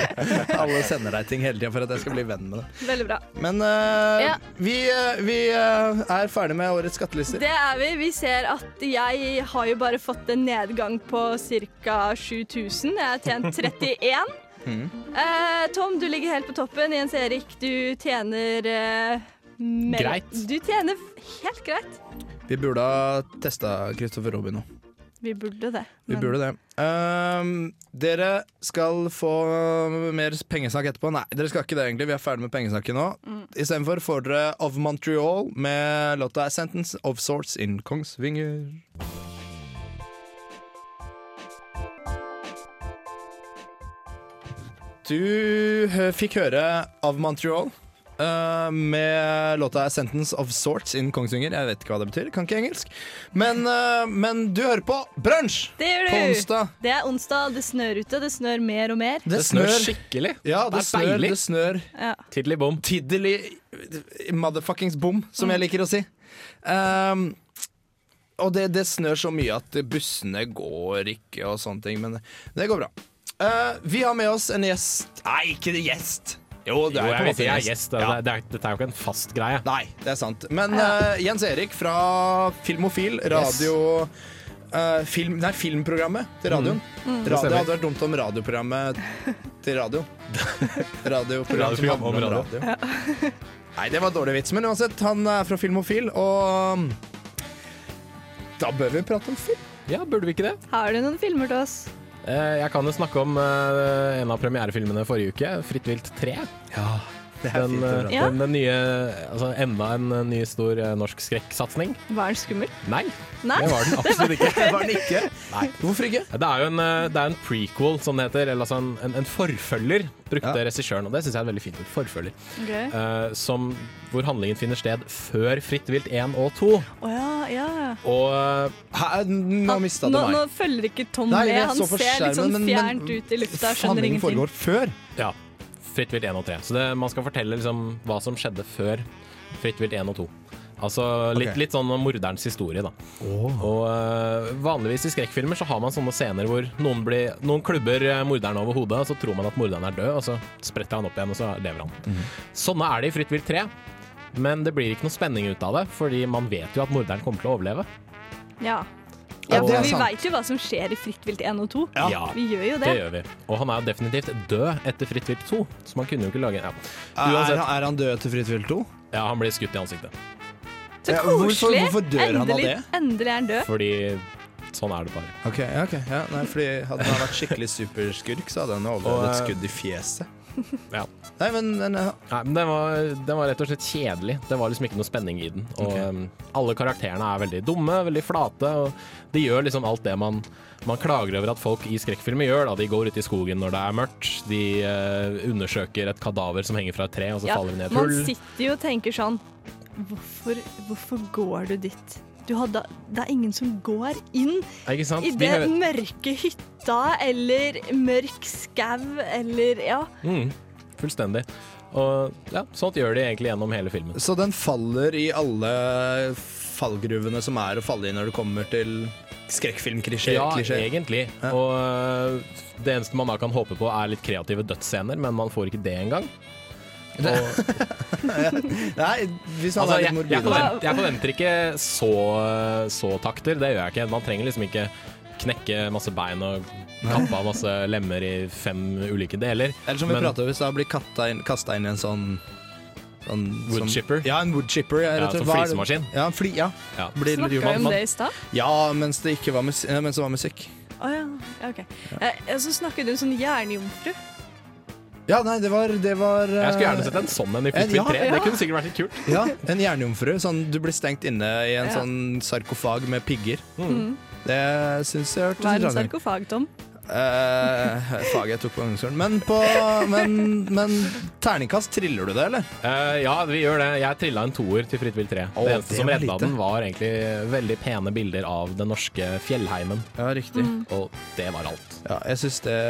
[SPEAKER 1] Alle sender deg ting hele tida for at jeg skal bli venn med dem.
[SPEAKER 6] Veldig bra.
[SPEAKER 1] Men eh,
[SPEAKER 6] Ja.
[SPEAKER 1] vi, eh, vi eh, er ferdig med årets skattelister.
[SPEAKER 6] Det er vi. Vi ser at jeg har jo bare fått en nedgang på ca. 7000. Jeg har tjent 31.
[SPEAKER 1] Mm.
[SPEAKER 6] Eh, Tom, du ligger helt på toppen. Jens Erik, du tjener eh, mer-
[SPEAKER 3] Greit.
[SPEAKER 6] Du tjener helt greit.
[SPEAKER 1] Vi burde ha testa Christopher Robin nå.
[SPEAKER 6] Vi burde det.
[SPEAKER 1] Vi
[SPEAKER 6] men-
[SPEAKER 1] burde det. Ehm, dere skal få mer pengesnakk etterpå. Nei, dere skal ikke det egentlig. Vi er ferdig med pengesnakket nå. Istedenfor får dere Of Montreal med låta A Sentence of Sorts in Kongsvinger. Du hø- fikk høre Of Montreal eh, med låta A Sentence of Sorts in Kongsvinger. Jeg vet ikke hva det betyr, kan ikke engelsk. Men, eh, men du hører på Brunsj!
[SPEAKER 6] Det gjør
[SPEAKER 1] På
[SPEAKER 6] du.
[SPEAKER 1] onsdag.
[SPEAKER 6] Det er onsdag, det snør ute. Det snør mer og mer.
[SPEAKER 1] Det,
[SPEAKER 3] skikkelig.
[SPEAKER 1] Ja, det,
[SPEAKER 3] Det er
[SPEAKER 1] snør,
[SPEAKER 3] deilig.
[SPEAKER 1] det snør
[SPEAKER 6] Ja.
[SPEAKER 3] Tiddelig bom.
[SPEAKER 1] tiddelig motherfuckings bom, som jeg liker å si. Ehm, og det, det snør så mye at bussene går ikke og sånne ting, men det går bra. Eh, vi har med oss en gjest Nei, ikke gjest! Jo, det er
[SPEAKER 3] Jo,
[SPEAKER 1] på
[SPEAKER 3] jeg
[SPEAKER 1] en
[SPEAKER 3] vet
[SPEAKER 1] måte
[SPEAKER 3] jeg
[SPEAKER 1] en
[SPEAKER 3] er gjest. Det,
[SPEAKER 1] Ja.
[SPEAKER 3] det, er- dette er jo ikke en fast greie.
[SPEAKER 1] Nei, det er sant. Men eh, Jens Erik fra Filmofil, radio eh, film, Nei, filmprogrammet til radioen. Radio,
[SPEAKER 3] stemmer.
[SPEAKER 1] Mm. det hadde vært dumt om radioprogrammet til radio. Radioprogram som
[SPEAKER 3] Radioprogram om
[SPEAKER 1] handler om
[SPEAKER 3] radio.
[SPEAKER 1] radio. Nei, det var dårlig vits, men uansett, han er fra Filmofil, og da bør vi prate om film.
[SPEAKER 3] Ja, burde vi ikke det?
[SPEAKER 6] Har du noen filmer til oss?
[SPEAKER 3] Eh, Jeg kan jo snakke om eh, en av premierefilmene forrige uke, 'Fritt vilt 3'.
[SPEAKER 1] Det er
[SPEAKER 3] Den,
[SPEAKER 1] fint å prate om.
[SPEAKER 3] eh, den, den nye Altså enda en eh, ny stor eh, norsk skrekksatsing.
[SPEAKER 6] Var den skummel?
[SPEAKER 3] Nei,
[SPEAKER 6] Nei.
[SPEAKER 3] det var den absolutt ikke.
[SPEAKER 1] Det var den ikke. Hvorfor ikke?
[SPEAKER 3] Det er jo en, eh, det er en prequel, som det heter. Eller altså en, en, en forfølger, brukte
[SPEAKER 1] Ja.
[SPEAKER 3] regissøren. Og det syns jeg er et veldig fint. ord, Forfølger.
[SPEAKER 6] Gøy.
[SPEAKER 3] Eh, som, hvor handlingen finner sted før Fritt vilt 1 og 2.
[SPEAKER 6] Å ja, ja.
[SPEAKER 3] Og eh,
[SPEAKER 1] Hæ, nå
[SPEAKER 6] Han-
[SPEAKER 1] mista du
[SPEAKER 6] nå,
[SPEAKER 1] meg.
[SPEAKER 6] nå følger ikke Tom
[SPEAKER 1] Nei,
[SPEAKER 6] med.
[SPEAKER 1] jeg
[SPEAKER 6] Han
[SPEAKER 1] så på
[SPEAKER 6] ser litt
[SPEAKER 1] skjermen,
[SPEAKER 6] sånn
[SPEAKER 1] men- men-
[SPEAKER 6] fjernt ut i lufta. Skjønner
[SPEAKER 1] Handlingen
[SPEAKER 6] ingenting.
[SPEAKER 1] foregår før.
[SPEAKER 3] ja, Fritt vilt 1 og 3. Så det, man skal fortelle liksom, hva som skjedde før Fritt vilt 1 og 2. Altså litt,
[SPEAKER 1] Ok.
[SPEAKER 3] litt sånn om morderens historie, da. Og eh, vanligvis i skrekkfilmer så har man sånne scener hvor noen, blir, noen klubber eh, morderen over hodet, og så tror man at morderen er død, og så spretter han opp igjen, og så lever han. Sånne er det i Fritt vilt 3. Men det blir ikke noe spenning ut av det, fordi man vet jo at morderen kommer til å overleve.
[SPEAKER 6] Ja. ja
[SPEAKER 1] Og-
[SPEAKER 6] for
[SPEAKER 1] Det er
[SPEAKER 6] vi
[SPEAKER 1] sant.
[SPEAKER 6] veit jo hva som skjer i Fritt vilt 1 og 2.
[SPEAKER 3] Ja.
[SPEAKER 6] Vi gjør jo det.
[SPEAKER 3] Det gjør vi. Og han er jo definitivt død etter Fritt vilt 2, så man kunne jo ikke lage ja.
[SPEAKER 1] Er,
[SPEAKER 3] Uansett.
[SPEAKER 1] er han død til Fritt vilt 2?
[SPEAKER 3] ja, han blir skutt i ansiktet.
[SPEAKER 6] Så
[SPEAKER 1] Ja, hvorfor-
[SPEAKER 6] koselig!
[SPEAKER 1] hvorfor dør han av
[SPEAKER 6] endelig,
[SPEAKER 1] det?
[SPEAKER 6] endelig er han død.
[SPEAKER 3] Fordi sånn er det bare.
[SPEAKER 1] Ok, ja, ok. Ja, nei, fordi Hadde han vært skikkelig superskurk, så hadde han overlevd
[SPEAKER 3] Og,
[SPEAKER 1] et
[SPEAKER 3] eh,
[SPEAKER 1] skudd i fjeset.
[SPEAKER 3] Ja.
[SPEAKER 1] Nei, men, men ja.
[SPEAKER 3] Nei, men den var, den var rett og slett kjedelig. Det var liksom ikke noe spenning i den. Og
[SPEAKER 1] Ok.
[SPEAKER 3] um, alle karakterene er veldig dumme, veldig flate, og de gjør liksom alt det man man klager over at folk i skrekkfilmer gjør. Da. De går ut i skogen når det er mørkt, de eh, undersøker et kadaver som henger fra et tre, og så
[SPEAKER 6] Ja,
[SPEAKER 3] faller de ned i et
[SPEAKER 6] man
[SPEAKER 3] hull.
[SPEAKER 6] sitter jo og tenker sånn Hvorfor, hvorfor går du dit? Du hadde, det er ingen som går inn
[SPEAKER 3] Ja, Ikke sant?
[SPEAKER 6] i
[SPEAKER 3] De
[SPEAKER 6] den
[SPEAKER 3] hø-
[SPEAKER 6] mørke hytta eller mørk skau eller Ja.
[SPEAKER 3] mm, fullstendig. Og ja, sånt gjør de egentlig gjennom hele filmen.
[SPEAKER 1] Så den faller i alle fallgruvene som er å falle i når det kommer til skrekkfilmklisjé?
[SPEAKER 3] Ja,
[SPEAKER 1] klisjé.
[SPEAKER 3] egentlig. Og øh, det eneste man da kan håpe på, er litt kreative dødsscener, men man får ikke det engang. Og, altså,
[SPEAKER 1] Nei, hvis han er
[SPEAKER 3] jeg,
[SPEAKER 1] litt morbid.
[SPEAKER 3] jeg, forventer, jeg forventer ikke så, så takter, det gjør jeg ikke. Man trenger liksom ikke knekke masse bein og kappe av masse lemmer i fem ulike deler.
[SPEAKER 1] Eller som vi
[SPEAKER 3] Men-
[SPEAKER 1] pratet om i stad, blir kasta inn, kastet inn i en sånn, sånn som-
[SPEAKER 3] Woodchipper?
[SPEAKER 1] Ja, en woodchipper. Ja,
[SPEAKER 3] Ja,
[SPEAKER 1] rett og slett.
[SPEAKER 3] sånn
[SPEAKER 1] Hva er det-
[SPEAKER 3] flisemaskin.
[SPEAKER 1] Ja, en fli, ja.
[SPEAKER 3] Ja.
[SPEAKER 1] Blir litt
[SPEAKER 6] Snakka
[SPEAKER 1] uvanlig.
[SPEAKER 6] om det i stad.
[SPEAKER 1] Ja, mens det ikke var musikk. Mens det var musikk.
[SPEAKER 6] Å ja. ja, ok. Eh, og så snakker du sånn jernjomfru.
[SPEAKER 1] Ja, nei, det var, det var eh,
[SPEAKER 3] Jeg skulle gjerne sett en sånn en i
[SPEAKER 1] Eh, ja,
[SPEAKER 3] Footbit 3.
[SPEAKER 6] ja.
[SPEAKER 3] Det kunne sikkert vært litt kult.
[SPEAKER 1] Ja, en jernjomfru. Sånn, du blir stengt inne i en
[SPEAKER 6] Ja.
[SPEAKER 1] sånn sarkofag med pigger.
[SPEAKER 6] Mm.
[SPEAKER 1] Det syns jeg
[SPEAKER 6] Hva er en
[SPEAKER 1] hørtes litt rart ut.
[SPEAKER 6] sarkofag, Tom?
[SPEAKER 1] Eh, Faget jeg tok på ungdomsskolen. Men, på, men, men terningkast, triller du det, eller?
[SPEAKER 3] Eh, ja, vi gjør det. Jeg trilla en toer til Fritt vilt 3.
[SPEAKER 1] Å,
[SPEAKER 3] det eneste
[SPEAKER 1] det
[SPEAKER 3] som
[SPEAKER 1] var
[SPEAKER 3] redda
[SPEAKER 1] lite.
[SPEAKER 3] den, var egentlig veldig pene bilder av den norske fjellheimen.
[SPEAKER 1] Ja, riktig.
[SPEAKER 6] Mm.
[SPEAKER 3] Og det var alt.
[SPEAKER 1] Ja, jeg syns det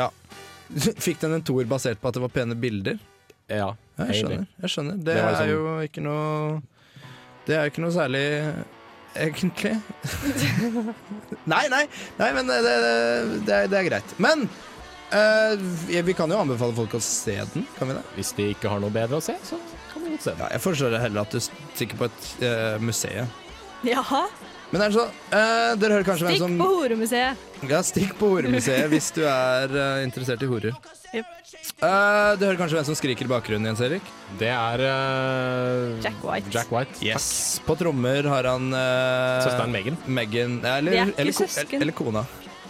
[SPEAKER 1] Ja. Fikk den en toer basert på at det var pene bilder?
[SPEAKER 3] Ja,
[SPEAKER 1] Ja, jeg skjønner.
[SPEAKER 3] egentlig.
[SPEAKER 1] Jeg skjønner. Det,
[SPEAKER 3] Det var liksom-
[SPEAKER 1] er jo ikke noe Det er jo ikke noe særlig Egentlig. nei, nei, nei, men det, det, det, er, det er greit. Men eh, vi- vi kan jo anbefale folk å se den, kan vi det?
[SPEAKER 3] Hvis de ikke har noe bedre å se, så kan de godt se den.
[SPEAKER 1] Ja, jeg foreslår det heller at du stikker på et eh, museum.
[SPEAKER 6] Jaha.
[SPEAKER 1] Men er det så, eh, dere hører kanskje hvem
[SPEAKER 6] Stikk
[SPEAKER 1] som
[SPEAKER 6] på Horemuseet.
[SPEAKER 1] Ja, stikk på horemuseet hvis du er eh, interessert i horer.
[SPEAKER 6] Jep.
[SPEAKER 1] Eh, du hører kanskje hvem som skriker i bakgrunnen, Jens Erik?
[SPEAKER 3] Det er eh,
[SPEAKER 6] Jack White.
[SPEAKER 3] Jack White.
[SPEAKER 1] Yes. På trommer har han eh,
[SPEAKER 3] Søsteren Megan.
[SPEAKER 1] Meghan ja,
[SPEAKER 6] De
[SPEAKER 1] eller,
[SPEAKER 6] er ikke
[SPEAKER 1] eller, ko-
[SPEAKER 6] søsken.
[SPEAKER 1] eller, eller kona.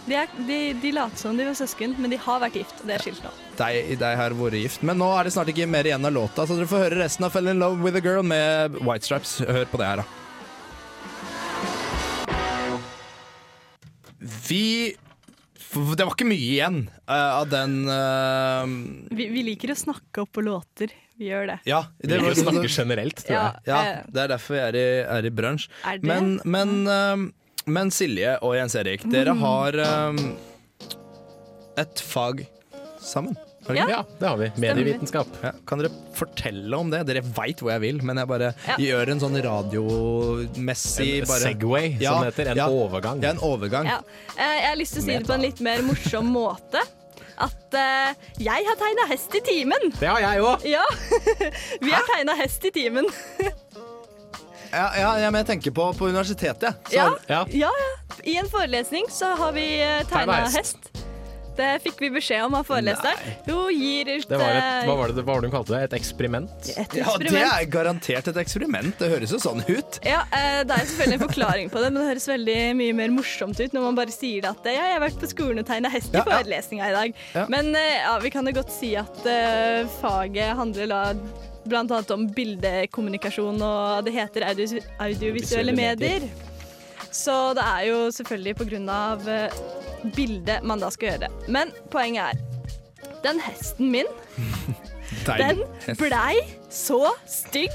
[SPEAKER 6] De, er, de, de later som de var søsken, men de har vært gift. og Det er skilt nå.
[SPEAKER 1] Deg, deg har vært gift. Men nå er det snart ikke mer igjen av låta, så dere får høre resten av Fell in Love with a Girl med White Stripes. Hør på det her, da. Vi f- Det var ikke mye igjen eh, av den eh,
[SPEAKER 6] Vi, vi liker å snakke opp på låter. Vi gjør det.
[SPEAKER 1] Ja,
[SPEAKER 3] Vi
[SPEAKER 1] det
[SPEAKER 3] liker å
[SPEAKER 1] var sånn-
[SPEAKER 3] snakke generelt, tror
[SPEAKER 6] Ja,
[SPEAKER 3] jeg.
[SPEAKER 1] Ja,
[SPEAKER 6] eh,
[SPEAKER 1] det er derfor vi er i, er i bransj.
[SPEAKER 6] er det?
[SPEAKER 1] Men, men, ehm, men Silje og Jens Erik, dere
[SPEAKER 6] Mm.
[SPEAKER 1] har ehm, et fag sammen. Har dere
[SPEAKER 6] Ja.
[SPEAKER 1] ikke?
[SPEAKER 3] Ja, det har vi. Medievitenskap.
[SPEAKER 1] Ja, kan dere fortelle om det? Dere veit hvor jeg vil, men jeg bare
[SPEAKER 6] Ja.
[SPEAKER 1] gjør en sånn radiomessig
[SPEAKER 3] En
[SPEAKER 1] bare,
[SPEAKER 3] Segway,
[SPEAKER 1] Ja,
[SPEAKER 3] som det heter. En
[SPEAKER 1] ja.
[SPEAKER 3] overgang.
[SPEAKER 1] Ja, en overgang.
[SPEAKER 6] Ja. Eh, Jeg har lyst til å si det på en litt mer morsom måte. At eh, jeg har tegna hest i timen.
[SPEAKER 3] Det har jeg òg.
[SPEAKER 6] Ja. Vi har tegna hest i timen.
[SPEAKER 1] Ja, ja, ja, men jeg tenker på, på universitetet. jeg. Så
[SPEAKER 6] Ja.
[SPEAKER 1] har-
[SPEAKER 3] Ja.
[SPEAKER 6] Ja, ja. I en forelesning så har vi tegna
[SPEAKER 3] Tegnet hest.
[SPEAKER 6] hest. Det fikk vi beskjed om av foreleseren. Jo, gir ut
[SPEAKER 3] Det var et,
[SPEAKER 6] eh,
[SPEAKER 3] hva var det, hva var det hun kalte det? Et eksperiment?
[SPEAKER 6] et
[SPEAKER 1] Ja, det
[SPEAKER 6] eksperiment.
[SPEAKER 1] er garantert et eksperiment. Det høres jo sånn ut.
[SPEAKER 6] Ja, eh, Det er selvfølgelig en forklaring på det, men det høres veldig mye mer morsomt ut når man bare sier det at eh, ja, 'jeg har vært på skolen og tegna hest i
[SPEAKER 1] Ja, ja.
[SPEAKER 6] forelesninga i dag'.
[SPEAKER 1] Ja.
[SPEAKER 6] Men eh, ja, vi kan jo godt si at eh, faget handler da blant annet om bildekommunikasjon, og det heter audio audiovisuelle
[SPEAKER 3] Visuelle medier.
[SPEAKER 6] medier. Så det er jo selvfølgelig på grunn av eh, bildet man da skal gjøre. Men poenget er den hesten min, den blei så stygg.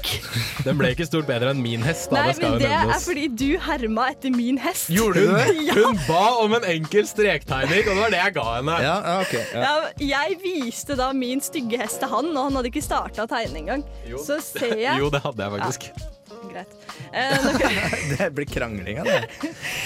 [SPEAKER 3] Den ble ikke stort bedre enn min hest. Da.
[SPEAKER 6] Nei,
[SPEAKER 3] det skal
[SPEAKER 6] men
[SPEAKER 3] jo
[SPEAKER 6] det er
[SPEAKER 3] nevnes.
[SPEAKER 6] fordi du herma etter min hest.
[SPEAKER 3] Gjorde hun det?
[SPEAKER 6] Ja.
[SPEAKER 3] Hun ba om en enkel strektegning, og det var det jeg ga henne.
[SPEAKER 1] Ja, ja, ok. Ja.
[SPEAKER 6] Ja, jeg viste da min stygge hest til han, og han hadde ikke starta å tegne engang. Så ser jeg
[SPEAKER 3] Jo, det hadde jeg faktisk.
[SPEAKER 6] Greit. Eh, nå kan-
[SPEAKER 1] Det blir krangling av det.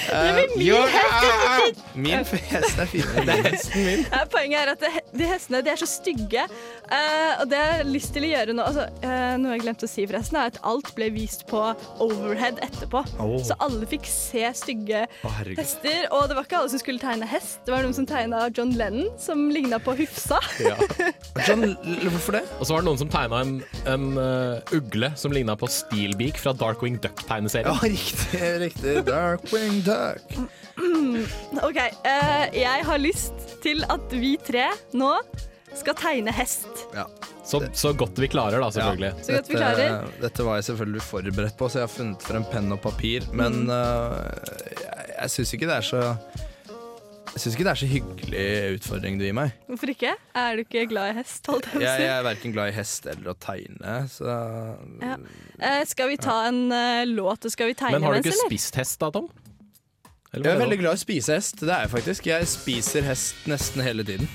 [SPEAKER 1] Eh,
[SPEAKER 6] men min hest er så stygg!
[SPEAKER 1] Min fest er finere enn din.
[SPEAKER 6] Ja, Poenget er at det, de hestene de er så stygge. eh, og det jeg har lyst til å gjøre nå altså, eh, Noe jeg glemte å si, forresten, er at alt ble vist på overhead etterpå. Så alle fikk se stygge
[SPEAKER 1] Å, herregud.
[SPEAKER 6] hester. Og det var ikke alle som skulle tegne hest. Det var noen som tegna John Lennon, som ligna på Hufsa.
[SPEAKER 1] John, l- Sånn, hvorfor det?
[SPEAKER 3] Og så var det noen som tegna en, en eh, ugle som ligna på Steelbeak fra Darkwing
[SPEAKER 1] Ja,
[SPEAKER 3] Duck-tegneserien.
[SPEAKER 1] riktig, riktig. Darkwing Duck.
[SPEAKER 6] OK. eh, jeg har lyst til at vi tre nå skal tegne hest.
[SPEAKER 1] Ja.
[SPEAKER 3] Så, så godt vi klarer, da, selvfølgelig.
[SPEAKER 6] Så godt vi klarer.
[SPEAKER 1] Dette, dette var jeg selvfølgelig forberedt på, så jeg har funnet frem penn og papir. Men
[SPEAKER 6] Mm.
[SPEAKER 1] øh, jeg, jeg syns ikke det er så jeg syns ikke det er så hyggelig utfordring du gir meg.
[SPEAKER 6] Hvorfor ikke? Er du ikke glad i hest? Holdt jeg på å
[SPEAKER 1] Jeg,
[SPEAKER 6] si?
[SPEAKER 1] jeg er verken glad i hest eller å tegne, så
[SPEAKER 6] Ja. Eh, skal vi ta en eh, låt, og skal vi tegne
[SPEAKER 3] Men har du ikke
[SPEAKER 6] mens, eller?
[SPEAKER 3] spist hest da, Tom? Eller
[SPEAKER 1] Jeg er
[SPEAKER 3] hva
[SPEAKER 1] veldig
[SPEAKER 3] det var?
[SPEAKER 1] glad i å spise hest. Det er jeg faktisk. Jeg spiser hest nesten hele tiden.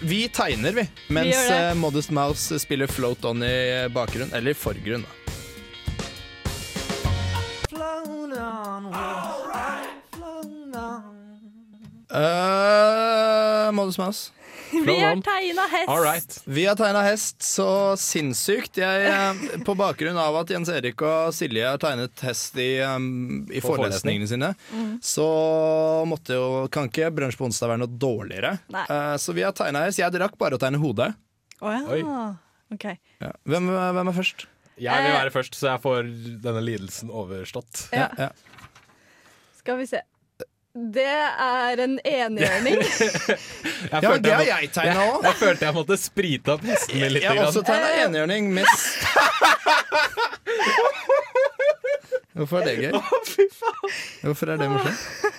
[SPEAKER 1] Vi tegner, vi. Mens
[SPEAKER 6] gjør det.
[SPEAKER 1] eh, Modest Mouse spiller Float On i bakgrunn. Eller i forgrunn, da. Eh, Modest Mouse.
[SPEAKER 6] Vi
[SPEAKER 3] Flow
[SPEAKER 6] er
[SPEAKER 3] on.
[SPEAKER 6] tegna hest.
[SPEAKER 3] All right.
[SPEAKER 1] Vi har tegna hest så sinnssykt. Jeg, eh, på bakgrunn av at Jens Erik og Silje har tegnet hest i, um, i
[SPEAKER 3] På
[SPEAKER 1] forelesningene sine,
[SPEAKER 6] Mhm.
[SPEAKER 1] så måtte jo, kan ikke brunsj på onsdag være noe dårligere.
[SPEAKER 6] Nei.
[SPEAKER 1] Eh, så vi har tegna hest. Jeg rakk bare å tegne hodet.
[SPEAKER 6] Å ja. OK.
[SPEAKER 1] Ja. Hvem, hvem er først?
[SPEAKER 3] Jeg
[SPEAKER 6] Eh,
[SPEAKER 3] vil være først, så jeg får denne lidelsen overstått.
[SPEAKER 6] Ja.
[SPEAKER 1] Ja.
[SPEAKER 6] Skal vi se. Det er en enhjørning.
[SPEAKER 3] Jeg
[SPEAKER 1] Ja,
[SPEAKER 3] følte
[SPEAKER 1] det har jeg
[SPEAKER 3] jeg,
[SPEAKER 1] tegna òg.
[SPEAKER 3] må- jeg følte jeg måtte sprite opp hesten min litt.
[SPEAKER 1] Jeg har også
[SPEAKER 3] Grann.
[SPEAKER 1] tegna enhjørning med Hvorfor er det gøy? Hvorfor er det morsomt?
[SPEAKER 3] Å,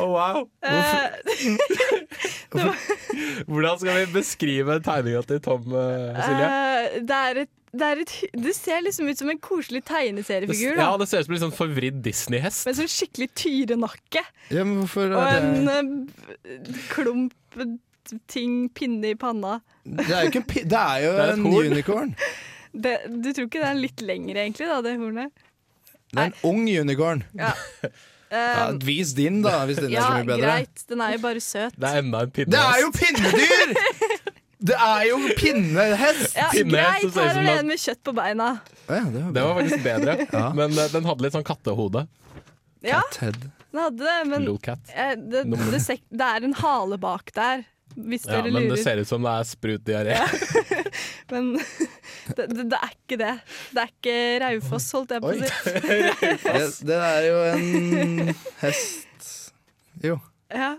[SPEAKER 3] Oh, wow.
[SPEAKER 6] Eh,
[SPEAKER 3] Hvordan skal vi beskrive tegninga til Tom eh, Silje?
[SPEAKER 6] eh, det er et det, er et, hy- det ser liksom ut som en
[SPEAKER 3] Det,
[SPEAKER 6] koselig
[SPEAKER 3] s-
[SPEAKER 6] tegneseriefigur,
[SPEAKER 3] ja,
[SPEAKER 6] da.
[SPEAKER 3] det ser ut som en litt sånn forvridd Disney-hest.
[SPEAKER 6] med sånn skikkelig tyrenakke
[SPEAKER 1] Ja, men hvorfor
[SPEAKER 6] og
[SPEAKER 1] er
[SPEAKER 6] en
[SPEAKER 1] det
[SPEAKER 6] eh, klump ting, pinne i panna.
[SPEAKER 1] Det er jo, ikke en pi- det er jo
[SPEAKER 3] Det er et
[SPEAKER 1] en
[SPEAKER 3] horn.
[SPEAKER 1] unicorn.
[SPEAKER 6] Det, du tror ikke det er litt lengre, egentlig, da, det hornet?
[SPEAKER 1] Det er en ung unicorn. Ja,
[SPEAKER 6] Eh,
[SPEAKER 1] vis din, da, hvis din er
[SPEAKER 6] ja,
[SPEAKER 1] så mye bedre.
[SPEAKER 6] greit. Den er jo bare søt.
[SPEAKER 3] Det er enda en pinne.
[SPEAKER 1] Det er jo pinnedyr! Det er jo pinnehest!
[SPEAKER 6] Ja,
[SPEAKER 3] pinne
[SPEAKER 6] greit,
[SPEAKER 3] som ser ut
[SPEAKER 6] her
[SPEAKER 3] som
[SPEAKER 6] er det
[SPEAKER 3] den-
[SPEAKER 6] en med kjøtt på beina.
[SPEAKER 1] Å ja, det var
[SPEAKER 3] Det
[SPEAKER 1] bra.
[SPEAKER 3] var faktisk bedre, men eh, den hadde litt sånn kattehode.
[SPEAKER 6] Ja,
[SPEAKER 1] Ted.
[SPEAKER 6] den hadde det, men
[SPEAKER 3] Little cat.
[SPEAKER 6] eh, det, det, sek- det er en hale bak der, hvis
[SPEAKER 3] Ja,
[SPEAKER 6] dere
[SPEAKER 3] men det
[SPEAKER 6] lurer.
[SPEAKER 3] ser ut som det er sprut diaré.
[SPEAKER 6] Men det, det, det er ikke det. Det er ikke Raufoss, holdt jeg på å
[SPEAKER 1] Oi.
[SPEAKER 6] si.
[SPEAKER 1] Det, det er jo en hest Jo.
[SPEAKER 6] Ja,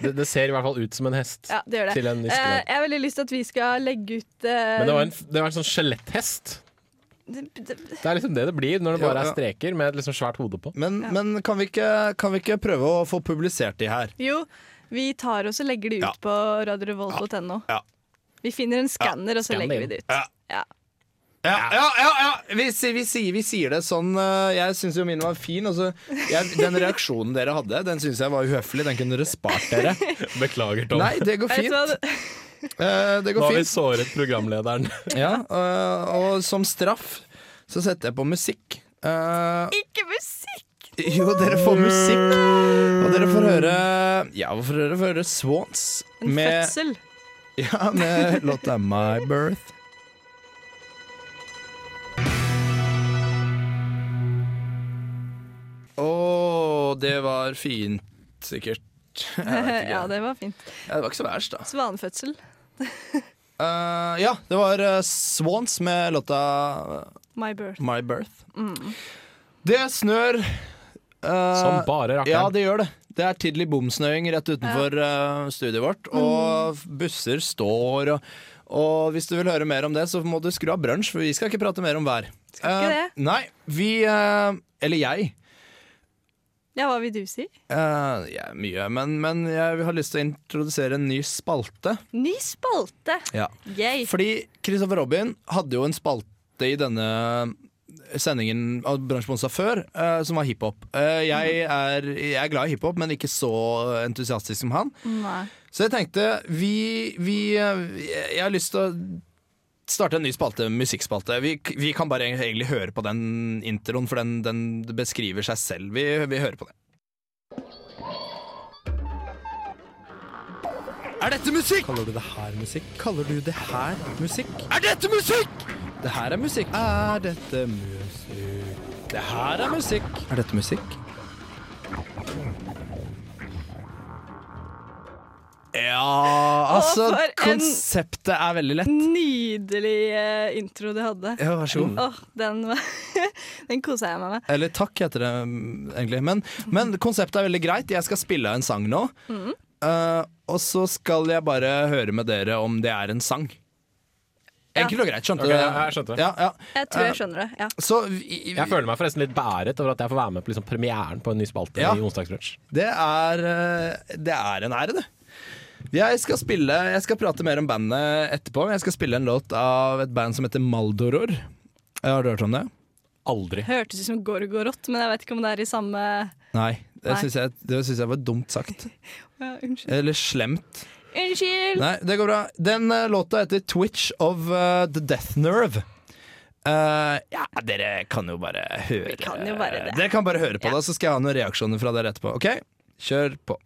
[SPEAKER 3] Det, det ser i hvert fall ut som en hest.
[SPEAKER 6] ja, det gjør det.
[SPEAKER 3] Til en viss
[SPEAKER 6] Eh,
[SPEAKER 3] grad.
[SPEAKER 6] jeg har veldig lyst til at vi skal legge ut eh,
[SPEAKER 3] Men det var
[SPEAKER 6] Um,
[SPEAKER 3] en, det var en sånn skjeletthest. Det er liksom det det blir når det
[SPEAKER 1] Ja,
[SPEAKER 3] bare er
[SPEAKER 1] ja.
[SPEAKER 3] streker med et liksom svært hode på.
[SPEAKER 1] Men,
[SPEAKER 6] Ja.
[SPEAKER 1] men kan, vi ikke, kan vi ikke prøve å få publisert de her?
[SPEAKER 6] Jo, vi tar og så legger det ut
[SPEAKER 1] Ja.
[SPEAKER 6] på radiorevolt.no.
[SPEAKER 1] Ja.
[SPEAKER 6] Vi finner en skanner, og så
[SPEAKER 3] skann det inn.
[SPEAKER 6] legger vi det ut.
[SPEAKER 1] Ja.
[SPEAKER 6] Ja.
[SPEAKER 1] Ja, ja, ja, ja. Vi, sier- vi, sier, vi sier det sånn eh, Jeg syns jo min var fin. Og så, jeg, den reaksjonen dere hadde, den syns jeg var uhøflig. Den kunne dere spart dere.
[SPEAKER 3] Beklager, Tom.
[SPEAKER 1] Nei, det går
[SPEAKER 6] Vet du
[SPEAKER 1] fint.
[SPEAKER 6] hva? det-
[SPEAKER 1] Eh, det
[SPEAKER 3] Nå
[SPEAKER 1] går
[SPEAKER 3] har vi
[SPEAKER 1] fint.
[SPEAKER 3] såret programlederen.
[SPEAKER 1] Ja, eh, og som straff så setter jeg på musikk. Eh,
[SPEAKER 6] Ikke musikk!
[SPEAKER 1] jo, dere får musikk. Og dere får høre Ja, hvorfor dere får høre Swans
[SPEAKER 6] En
[SPEAKER 1] med,
[SPEAKER 6] fødsel.
[SPEAKER 1] ja, med låta My Birth. Å, det var fint, sikkert. Jeg vet ikke.
[SPEAKER 6] Ja, det var fint.
[SPEAKER 1] Ja, det var ikke så verst, da.
[SPEAKER 6] Svanefødsel.
[SPEAKER 1] Eh, ja, det var eh, Swans med låta
[SPEAKER 6] My birth. Mm.
[SPEAKER 1] My Birth. Det snør eh,
[SPEAKER 3] Som bare
[SPEAKER 1] Ja,
[SPEAKER 3] rakkeren.
[SPEAKER 1] det gjør det. Det er tidlig bomsnøing rett utenfor eh, studiet vårt, og
[SPEAKER 6] Mm.
[SPEAKER 1] busser står og og hvis du vil høre mer om det, så må du skru av brunsj, for vi skal ikke prate mer om vær.
[SPEAKER 6] Skal ikke
[SPEAKER 1] Eh,
[SPEAKER 6] det?
[SPEAKER 1] nei, vi eh, Eller jeg.
[SPEAKER 6] Ja, hva vil du si?
[SPEAKER 1] eh, jeg er mye, men, men jeg har lyst til å introdusere en ny spalte.
[SPEAKER 6] Ny spalte!
[SPEAKER 1] Ja.
[SPEAKER 6] Yay.
[SPEAKER 1] Fordi Kristoffer Robin hadde jo en spalte i denne sendingen av Bransjeponsa før, eh, som var hiphop. Eh, jeg, er, jeg er glad i hiphop, men ikke så entusiastisk som han.
[SPEAKER 6] Mm, Nei.
[SPEAKER 1] Så jeg tenkte vi, vi eh, Jeg har lyst til å starte en ny spalte, musikkspalte. Vi, vi kan bare egentlig høre på den introen, for den, den beskriver seg selv. Vi, vi hører på det. Er dette musikk? Kaller du det her musikk? Kaller du det her musikk? Er dette musikk? Det her er musikk. Er dette musikk? Det her er musikk. Er dette musikk? Ja, altså
[SPEAKER 6] Å, for en-
[SPEAKER 1] Konseptet er veldig lett.
[SPEAKER 6] Nydelig eh, intro du hadde.
[SPEAKER 1] Ja, vær så god.
[SPEAKER 6] Åh, den, var- den kosa jeg meg med.
[SPEAKER 1] Eller takk heter det mm, egentlig. Men, men konseptet er veldig greit. Jeg skal spille en sang nå.
[SPEAKER 6] Mm.
[SPEAKER 1] Eh, og så skal jeg bare høre med dere om det er en sang. Enkelt og greit, skjønte
[SPEAKER 3] Ok,
[SPEAKER 1] du?
[SPEAKER 3] ja, jeg skjønte.
[SPEAKER 1] Ja, ja.
[SPEAKER 6] Jeg tror jeg skjønner det. ja.
[SPEAKER 1] Så vi-
[SPEAKER 3] Jeg føler meg forresten litt bæret over at jeg får være med på liksom premieren på en ny spalte
[SPEAKER 1] Ja.
[SPEAKER 3] i Onsdagsbrunsj.
[SPEAKER 1] det, er, eh, det er en ære, det. Jeg skal, spille, jeg skal prate mer om bandet etterpå. men Jeg skal spille en låt av et band som heter Maldoror. Har du hørt om det?
[SPEAKER 3] Aldri.
[SPEAKER 6] Hørtes ut som Gorgorot, men jeg vet ikke om det er i samme
[SPEAKER 1] Nei. Det
[SPEAKER 6] Nei.
[SPEAKER 1] syns jeg, det synes jeg var dumt sagt.
[SPEAKER 6] ja, Unnskyld.
[SPEAKER 1] Eller slemt.
[SPEAKER 6] Unnskyld!
[SPEAKER 1] Nei, det går bra. Den eh, låta heter Twitch of eh, the Death Nerve. Eh, ja, dere kan jo bare høre
[SPEAKER 6] Vi kan jo bare det.
[SPEAKER 1] Dere kan bare høre på
[SPEAKER 6] Ja.
[SPEAKER 1] det, så skal jeg ha noen reaksjoner fra dere etterpå. Ok, kjør på.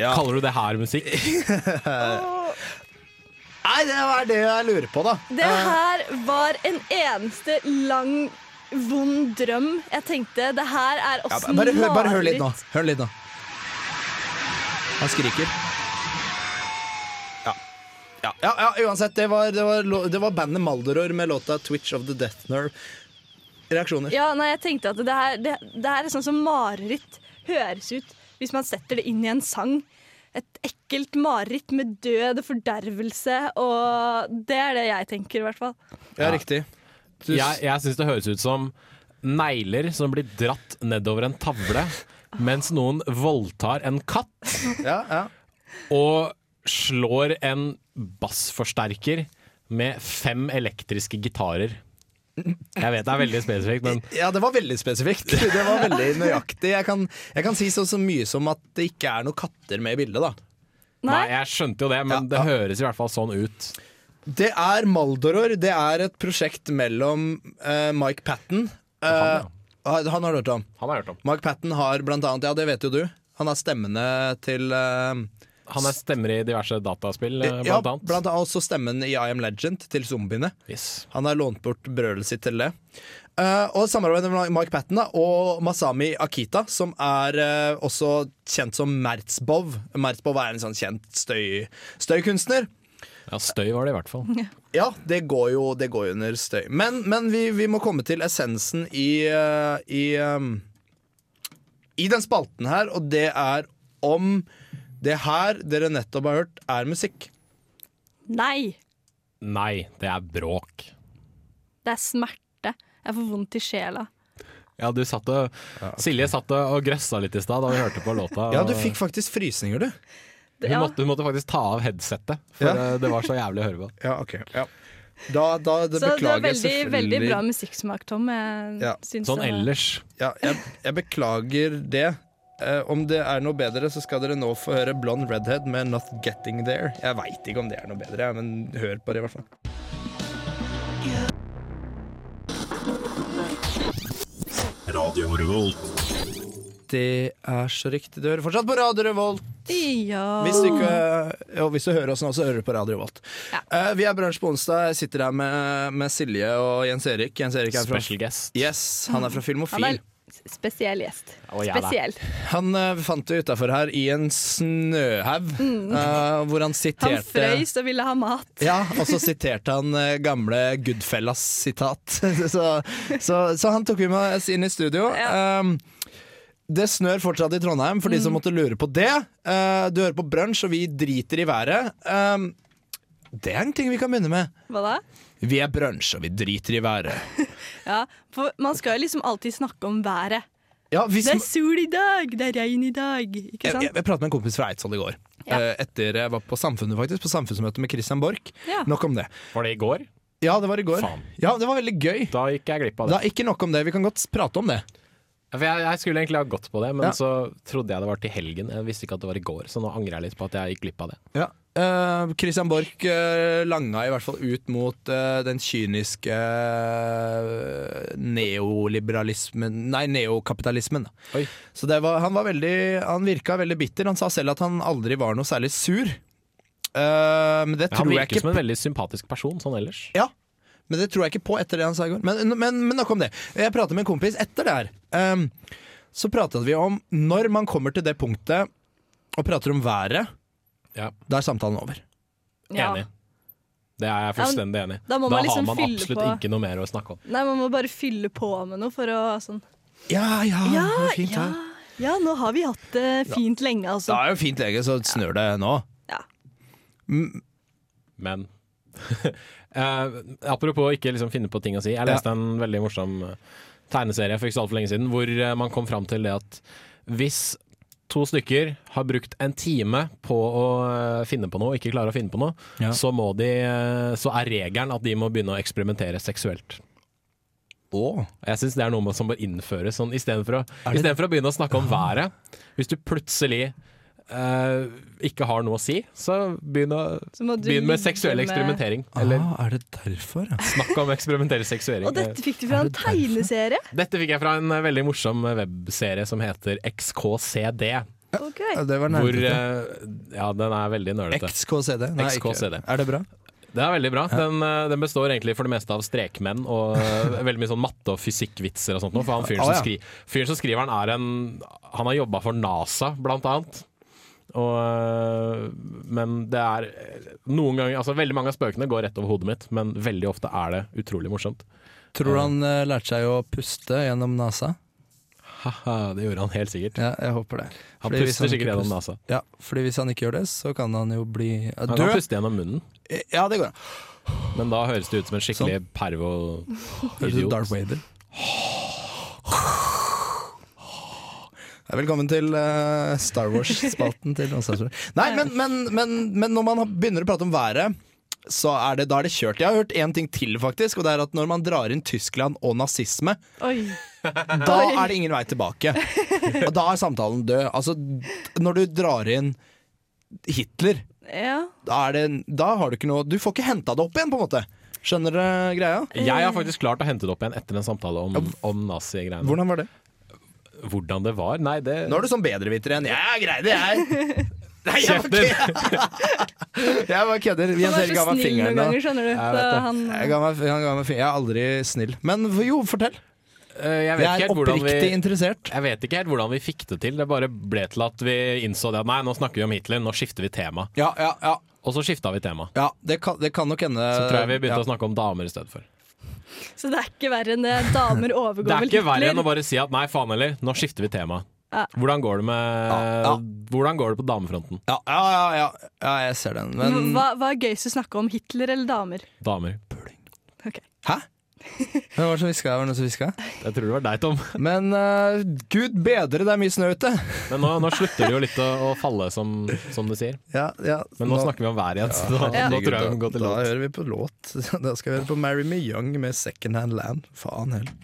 [SPEAKER 1] Ja.
[SPEAKER 3] Kaller du det her musikk?
[SPEAKER 1] Nei, det er det jeg lurer på, da. Eh,
[SPEAKER 6] Det her var en eneste lang, vond drøm. Jeg tenkte det her er
[SPEAKER 1] Ja,
[SPEAKER 6] åssen
[SPEAKER 1] bare, hør, bare hør litt nå. Hør litt nå. Han skriker. Ja. Ja, ja, ja uansett. Det var, det, var, lå- det var bandet Maldoror med låta 'Twitch of the Death Nerve'. Reaksjoner?
[SPEAKER 6] Ja, nei, jeg tenkte at det her, det, det her er sånn som mareritt høres ut hvis man setter det inn i en sang. Et ekkelt mareritt med død og fordervelse, og det er det jeg tenker, i hvert fall.
[SPEAKER 1] Ja, riktig. Du,
[SPEAKER 3] Jeg, jeg syns det høres ut som negler som blir dratt nedover en tavle, mens noen voldtar en katt
[SPEAKER 1] ja, ja.
[SPEAKER 3] og slår en bassforsterker med fem elektriske gitarer. Jeg vet det er veldig spesifikt, men
[SPEAKER 1] ja, det var veldig spesifikt. Det var veldig nøyaktig. Jeg kan, jeg kan si så, så mye som at det ikke er noen katter med i bildet, da.
[SPEAKER 6] Nei,
[SPEAKER 3] Nei, jeg skjønte jo det, men
[SPEAKER 1] Ja,
[SPEAKER 3] det
[SPEAKER 1] ja.
[SPEAKER 3] høres i hvert fall sånn ut.
[SPEAKER 1] Det er Maldoror. Det er et prosjekt mellom eh, Mike Patten eh,
[SPEAKER 3] Han,
[SPEAKER 1] han, har du hørt om.
[SPEAKER 3] Han har jeg hørt om.
[SPEAKER 1] Mike Patten har blant annet, ja det vet jo du, han har stemmene til eh,
[SPEAKER 3] Han er stemmer i diverse dataspill, eh, blant
[SPEAKER 1] ja,
[SPEAKER 3] annet.
[SPEAKER 1] blant annet også stemmen i I Am Legend til zombiene.
[SPEAKER 3] yes.
[SPEAKER 1] Han har lånt bort brølet sitt til det. Eh, og samarbeidet med Mike Patten da, og Masami Akita, som er eh, også kjent som Merzbov. Merzbov er en sånn kjent støy, støykunstner.
[SPEAKER 3] ja, støy var det i hvert fall.
[SPEAKER 1] Ja, det går jo, det går jo under støy. Men, men vi, vi må komme til essensen i, eh, i, eh, i den spalten her, og det er om det her dere nettopp har hørt, er musikk.
[SPEAKER 6] nei,
[SPEAKER 3] Nei, det er bråk.
[SPEAKER 6] det er smerte. Jeg får vondt i sjela.
[SPEAKER 3] Ja, du satt og, Silje satt og grøssa litt i stad da vi hørte på låta.
[SPEAKER 1] Ja, du fikk faktisk frysninger, du.
[SPEAKER 3] Hun,
[SPEAKER 6] Ja.
[SPEAKER 3] måtte, hun måtte faktisk ta av headsettet, for
[SPEAKER 1] Ja.
[SPEAKER 3] eh, det var så jævlig å høre på.
[SPEAKER 1] Ja, ok. Ja. Da, da det
[SPEAKER 6] Så det var
[SPEAKER 1] beklager jeg
[SPEAKER 6] veldig, veldig
[SPEAKER 1] selvfølgelig.
[SPEAKER 6] bra musikksmak, Tom. Jeg
[SPEAKER 1] Ja.
[SPEAKER 6] syns
[SPEAKER 3] Sånn
[SPEAKER 6] det var-
[SPEAKER 3] ellers.
[SPEAKER 1] Ja, jeg, jeg beklager det. Eh, om det er noe bedre, så skal dere nå få høre Blond Redhead med Not Getting There. Jeg veit ikke om det er noe bedre, jeg, men hør på det, i hvert fall. Det er så riktig. Du hører fortsatt på Radio Revolt.
[SPEAKER 6] Ja.
[SPEAKER 1] Hvis du, ikke, og hvis du hører oss nå, så hører du på Radio Revolt. Eh, vi er Brunsj på onsdag. Jeg sitter her med, med Silje og Jens Erik. Jens Erik er fra,
[SPEAKER 3] Special guest.
[SPEAKER 1] yes, han er fra
[SPEAKER 6] Han er
[SPEAKER 1] Filmofil.
[SPEAKER 6] en spesiell gjest.
[SPEAKER 3] Å, ja da.
[SPEAKER 6] Spesiell.
[SPEAKER 1] Han eh, fant det utafor her i en snøhaug, eh, hvor han siterte
[SPEAKER 6] Mm. Han frøys og ville ha mat.
[SPEAKER 1] Ja, og så siterte han eh, gamle Goodfellas-sitat. så, så, så han tok jo med oss inn i studio. Um, det snør fortsatt i Trondheim, for de
[SPEAKER 6] Mm.
[SPEAKER 1] som måtte lure på det. Eh, du hører på brunsj, og vi driter i været. Um, det er en ting vi kan begynne med.
[SPEAKER 6] Hva da?
[SPEAKER 1] Vi er brunsj, og vi driter i været.
[SPEAKER 6] Ja, for man skal jo liksom alltid snakke om været.
[SPEAKER 1] Ja, hvis,
[SPEAKER 6] Det er sol i dag, det er regn i dag, ikke
[SPEAKER 1] Jeg,
[SPEAKER 6] sant?
[SPEAKER 1] jeg, jeg pratet med en kompis fra Eidsvoll i går.
[SPEAKER 6] Ja.
[SPEAKER 1] Eh, Etter jeg var på Samfunnet faktisk På samfunnsmøte med Christian Borch.
[SPEAKER 6] Ja.
[SPEAKER 1] Nok om det.
[SPEAKER 3] Var det i går?
[SPEAKER 1] Ja, det var i går.
[SPEAKER 3] Faen.
[SPEAKER 1] Ja, Det var veldig gøy.
[SPEAKER 3] Da gikk jeg glipp av det.
[SPEAKER 1] Da, ikke nok om det. Vi kan godt prate om det.
[SPEAKER 3] For jeg, jeg skulle egentlig ha gått på det, men
[SPEAKER 1] Ja.
[SPEAKER 3] så trodde jeg det var til helgen. Jeg visste ikke at det var i går, så nå angrer jeg litt på at jeg gikk glipp av det.
[SPEAKER 1] Ja. Eh, Christian Borch eh, langa i hvert fall ut mot eh, den kyniske eh, neoliberalismen Nei, neokapitalismen. da.
[SPEAKER 3] Oi.
[SPEAKER 1] Så det var, han, var veldig, han virka veldig bitter. Han sa selv at han aldri var noe særlig sur. Eh, men det
[SPEAKER 3] Men han
[SPEAKER 1] tror jeg
[SPEAKER 3] virker
[SPEAKER 1] ikke
[SPEAKER 3] som en veldig sympatisk person sånn ellers.
[SPEAKER 1] Ja, men det tror jeg ikke på etter det han sa i går. Men, men, men nok om det. Jeg pratet med en kompis etter det her. Ehm, så pratet vi om når man kommer til det punktet og prater om været,
[SPEAKER 3] Ja.
[SPEAKER 1] da er samtalen over.
[SPEAKER 6] Ja.
[SPEAKER 3] Enig. Det er jeg fullstendig enig i.
[SPEAKER 6] da må man liksom
[SPEAKER 3] har man
[SPEAKER 6] fylle
[SPEAKER 3] absolutt
[SPEAKER 6] på.
[SPEAKER 3] ikke noe mer å snakke om.
[SPEAKER 6] Nei, man må bare fylle på med noe for å sånn
[SPEAKER 1] Ja, ja,
[SPEAKER 6] Ja,
[SPEAKER 1] det var fint
[SPEAKER 6] ja,
[SPEAKER 1] her.
[SPEAKER 6] ja, nå har vi hatt det fint lenge,
[SPEAKER 1] Det
[SPEAKER 6] altså.
[SPEAKER 1] er jo fint lege, så snør det nå.
[SPEAKER 6] Ja.
[SPEAKER 1] Mm,
[SPEAKER 3] Men eh, apropos ikke liksom finne på ting å si. Jeg leste en veldig morsom eh, tegneserie for ikke så altfor lenge siden, hvor eh, man kom fram til det at hvis to stykker har brukt en time på å eh, finne på noe, ikke klarer å finne på noe,
[SPEAKER 1] Ja.
[SPEAKER 3] så, må de, eh, så er regelen at de må begynne å eksperimentere seksuelt.
[SPEAKER 1] å.
[SPEAKER 3] Jeg syns det er noe med- som bør innføres. Sånn, Istedenfor å,
[SPEAKER 1] det-
[SPEAKER 3] istedenfor å begynne å snakke om været, hvis du plutselig eh, ikke har noe å si, så begynn, å,
[SPEAKER 6] Så må du liksom
[SPEAKER 3] begynn med
[SPEAKER 6] ligge
[SPEAKER 3] seksuell
[SPEAKER 6] med-
[SPEAKER 3] eksperimentering. Eller
[SPEAKER 1] ah, er det derfor, ja?
[SPEAKER 3] snakk om eksperimentell seksuering.
[SPEAKER 6] Og dette fikk du fra
[SPEAKER 1] Er
[SPEAKER 6] en
[SPEAKER 1] det derfor?
[SPEAKER 6] tegneserie?
[SPEAKER 3] Dette fikk jeg fra en eh, veldig morsom webserie som heter XKCD.
[SPEAKER 6] Ok.
[SPEAKER 1] Det var
[SPEAKER 3] Hvor eh, Ja, den er veldig nølete.
[SPEAKER 1] XKCD. Nei, ikke-
[SPEAKER 3] XKCD.
[SPEAKER 1] Er det bra?
[SPEAKER 3] Det er veldig bra. Den, eh, den består egentlig for det meste av strekmenn og eh, veldig mye sånn matte- og fysikkvitser og sånt noe. For han fyren
[SPEAKER 1] Å,
[SPEAKER 3] som,
[SPEAKER 1] ja.
[SPEAKER 3] skri, fyren som skriver den, er en Han har jobba for NASA, blant annet. Og, eh, men det er eh, noen ganger Altså Veldig mange av spøkene går rett over hodet mitt, men veldig ofte er det utrolig morsomt.
[SPEAKER 1] Tror du han eh, lærte seg å puste gjennom nesa?
[SPEAKER 3] Haha, det gjorde han helt sikkert.
[SPEAKER 1] Ja, jeg håper det.
[SPEAKER 3] Han
[SPEAKER 1] Fordi hvis han
[SPEAKER 3] puster
[SPEAKER 1] ikke
[SPEAKER 3] sikkert gjennom
[SPEAKER 1] puster-
[SPEAKER 3] NASA.
[SPEAKER 1] Ja, fordi hvis han ikke gjør det, så kan han jo bli eh,
[SPEAKER 3] Han kan
[SPEAKER 1] død.
[SPEAKER 3] puste gjennom munnen,
[SPEAKER 1] Ja, det går an.
[SPEAKER 3] men da høres det ut som en skikkelig
[SPEAKER 1] Sånn. Høres ut som
[SPEAKER 3] pervo-idiot.
[SPEAKER 1] Darth Vader. Velkommen til eh, Star Wars-spalten til Åsa Stor. Nei, men, men, men, men når man har- begynner å prate om været, så er det, da er det kjørt. Jeg har hørt én ting til, faktisk, og det er at når man drar inn Tyskland og nazisme,
[SPEAKER 6] Oi.
[SPEAKER 1] da er det ingen vei tilbake. Og da er samtalen død. Altså, når du drar inn Hitler,
[SPEAKER 6] Ja.
[SPEAKER 1] da, er det, da har du ikke noe Du får ikke henta det opp igjen, på en måte. Skjønner dere greia?
[SPEAKER 3] Jeg har faktisk klart å hente det opp igjen etter en samtale om, om nazigreiene. Hvordan?
[SPEAKER 1] Hvordan var det?
[SPEAKER 3] det var? Nei, det
[SPEAKER 1] Nå er du sånn bedreviter igjen. Ja, greide det, jeg. Nei, jeg
[SPEAKER 3] Kjeften!
[SPEAKER 1] bare kødder. Jeg bare kødder.
[SPEAKER 6] Han
[SPEAKER 1] Jens
[SPEAKER 6] er
[SPEAKER 1] Erik ga
[SPEAKER 6] så
[SPEAKER 1] meg
[SPEAKER 6] snill noen
[SPEAKER 1] fingeren nå.
[SPEAKER 6] ganger, skjønner du.
[SPEAKER 3] Jeg vet
[SPEAKER 6] Så
[SPEAKER 3] det.
[SPEAKER 6] han,
[SPEAKER 1] Jeg, ga meg, han ga meg fingeren. jeg er aldri snill. Men jo, fortell.
[SPEAKER 3] Eh, Jeg
[SPEAKER 1] Jeg
[SPEAKER 3] vet, ikke
[SPEAKER 1] er
[SPEAKER 3] helt hvordan
[SPEAKER 1] oppriktig
[SPEAKER 3] vi,
[SPEAKER 1] interessert.
[SPEAKER 3] jeg vet ikke helt hvordan vi fikk det til. Det bare ble til at vi innså det at nei, nå snakker vi om Hitler, nå skifter vi tema.
[SPEAKER 1] Ja, ja, ja.
[SPEAKER 3] Og så skifta vi tema.
[SPEAKER 1] ja det, kan, det kan nok hende
[SPEAKER 3] Så tror jeg vi begynte
[SPEAKER 1] Eh, ja.
[SPEAKER 3] å snakke om damer i stedet for.
[SPEAKER 6] så det er ikke verre enn det. Damer overgår
[SPEAKER 3] Det er
[SPEAKER 6] vel
[SPEAKER 3] ikke verre
[SPEAKER 6] Hitler.
[SPEAKER 3] enn å bare si at nei, faen heller, nå skifter vi tema.
[SPEAKER 6] Ja.
[SPEAKER 3] Hvordan går det med
[SPEAKER 1] Ja, ja.
[SPEAKER 3] Hvordan går det på damefronten?
[SPEAKER 1] ja, ja, ja, ja, ja, jeg ser den. Men
[SPEAKER 6] hva, hva er gøyest å snakke om? Hitler eller damer?
[SPEAKER 3] Damer.
[SPEAKER 1] Hæ? Hvem var det som hviska? Var det noen som hviska?
[SPEAKER 3] Jeg tror det var deg, Tom.
[SPEAKER 1] Men eh, gud bedre, det er mye snø ute!
[SPEAKER 3] Men nå, nå slutter det jo litt å, å falle, som, som du sier.
[SPEAKER 1] Ja, ja,
[SPEAKER 3] Men nå, snakker vi om været igjen, så da,
[SPEAKER 1] Ja.
[SPEAKER 3] nå tror jeg vi må gå til
[SPEAKER 1] da
[SPEAKER 3] låt.
[SPEAKER 1] hører vi på låt. Da skal vi høre på Marry Me Young med Second Hand Land. Faen heller.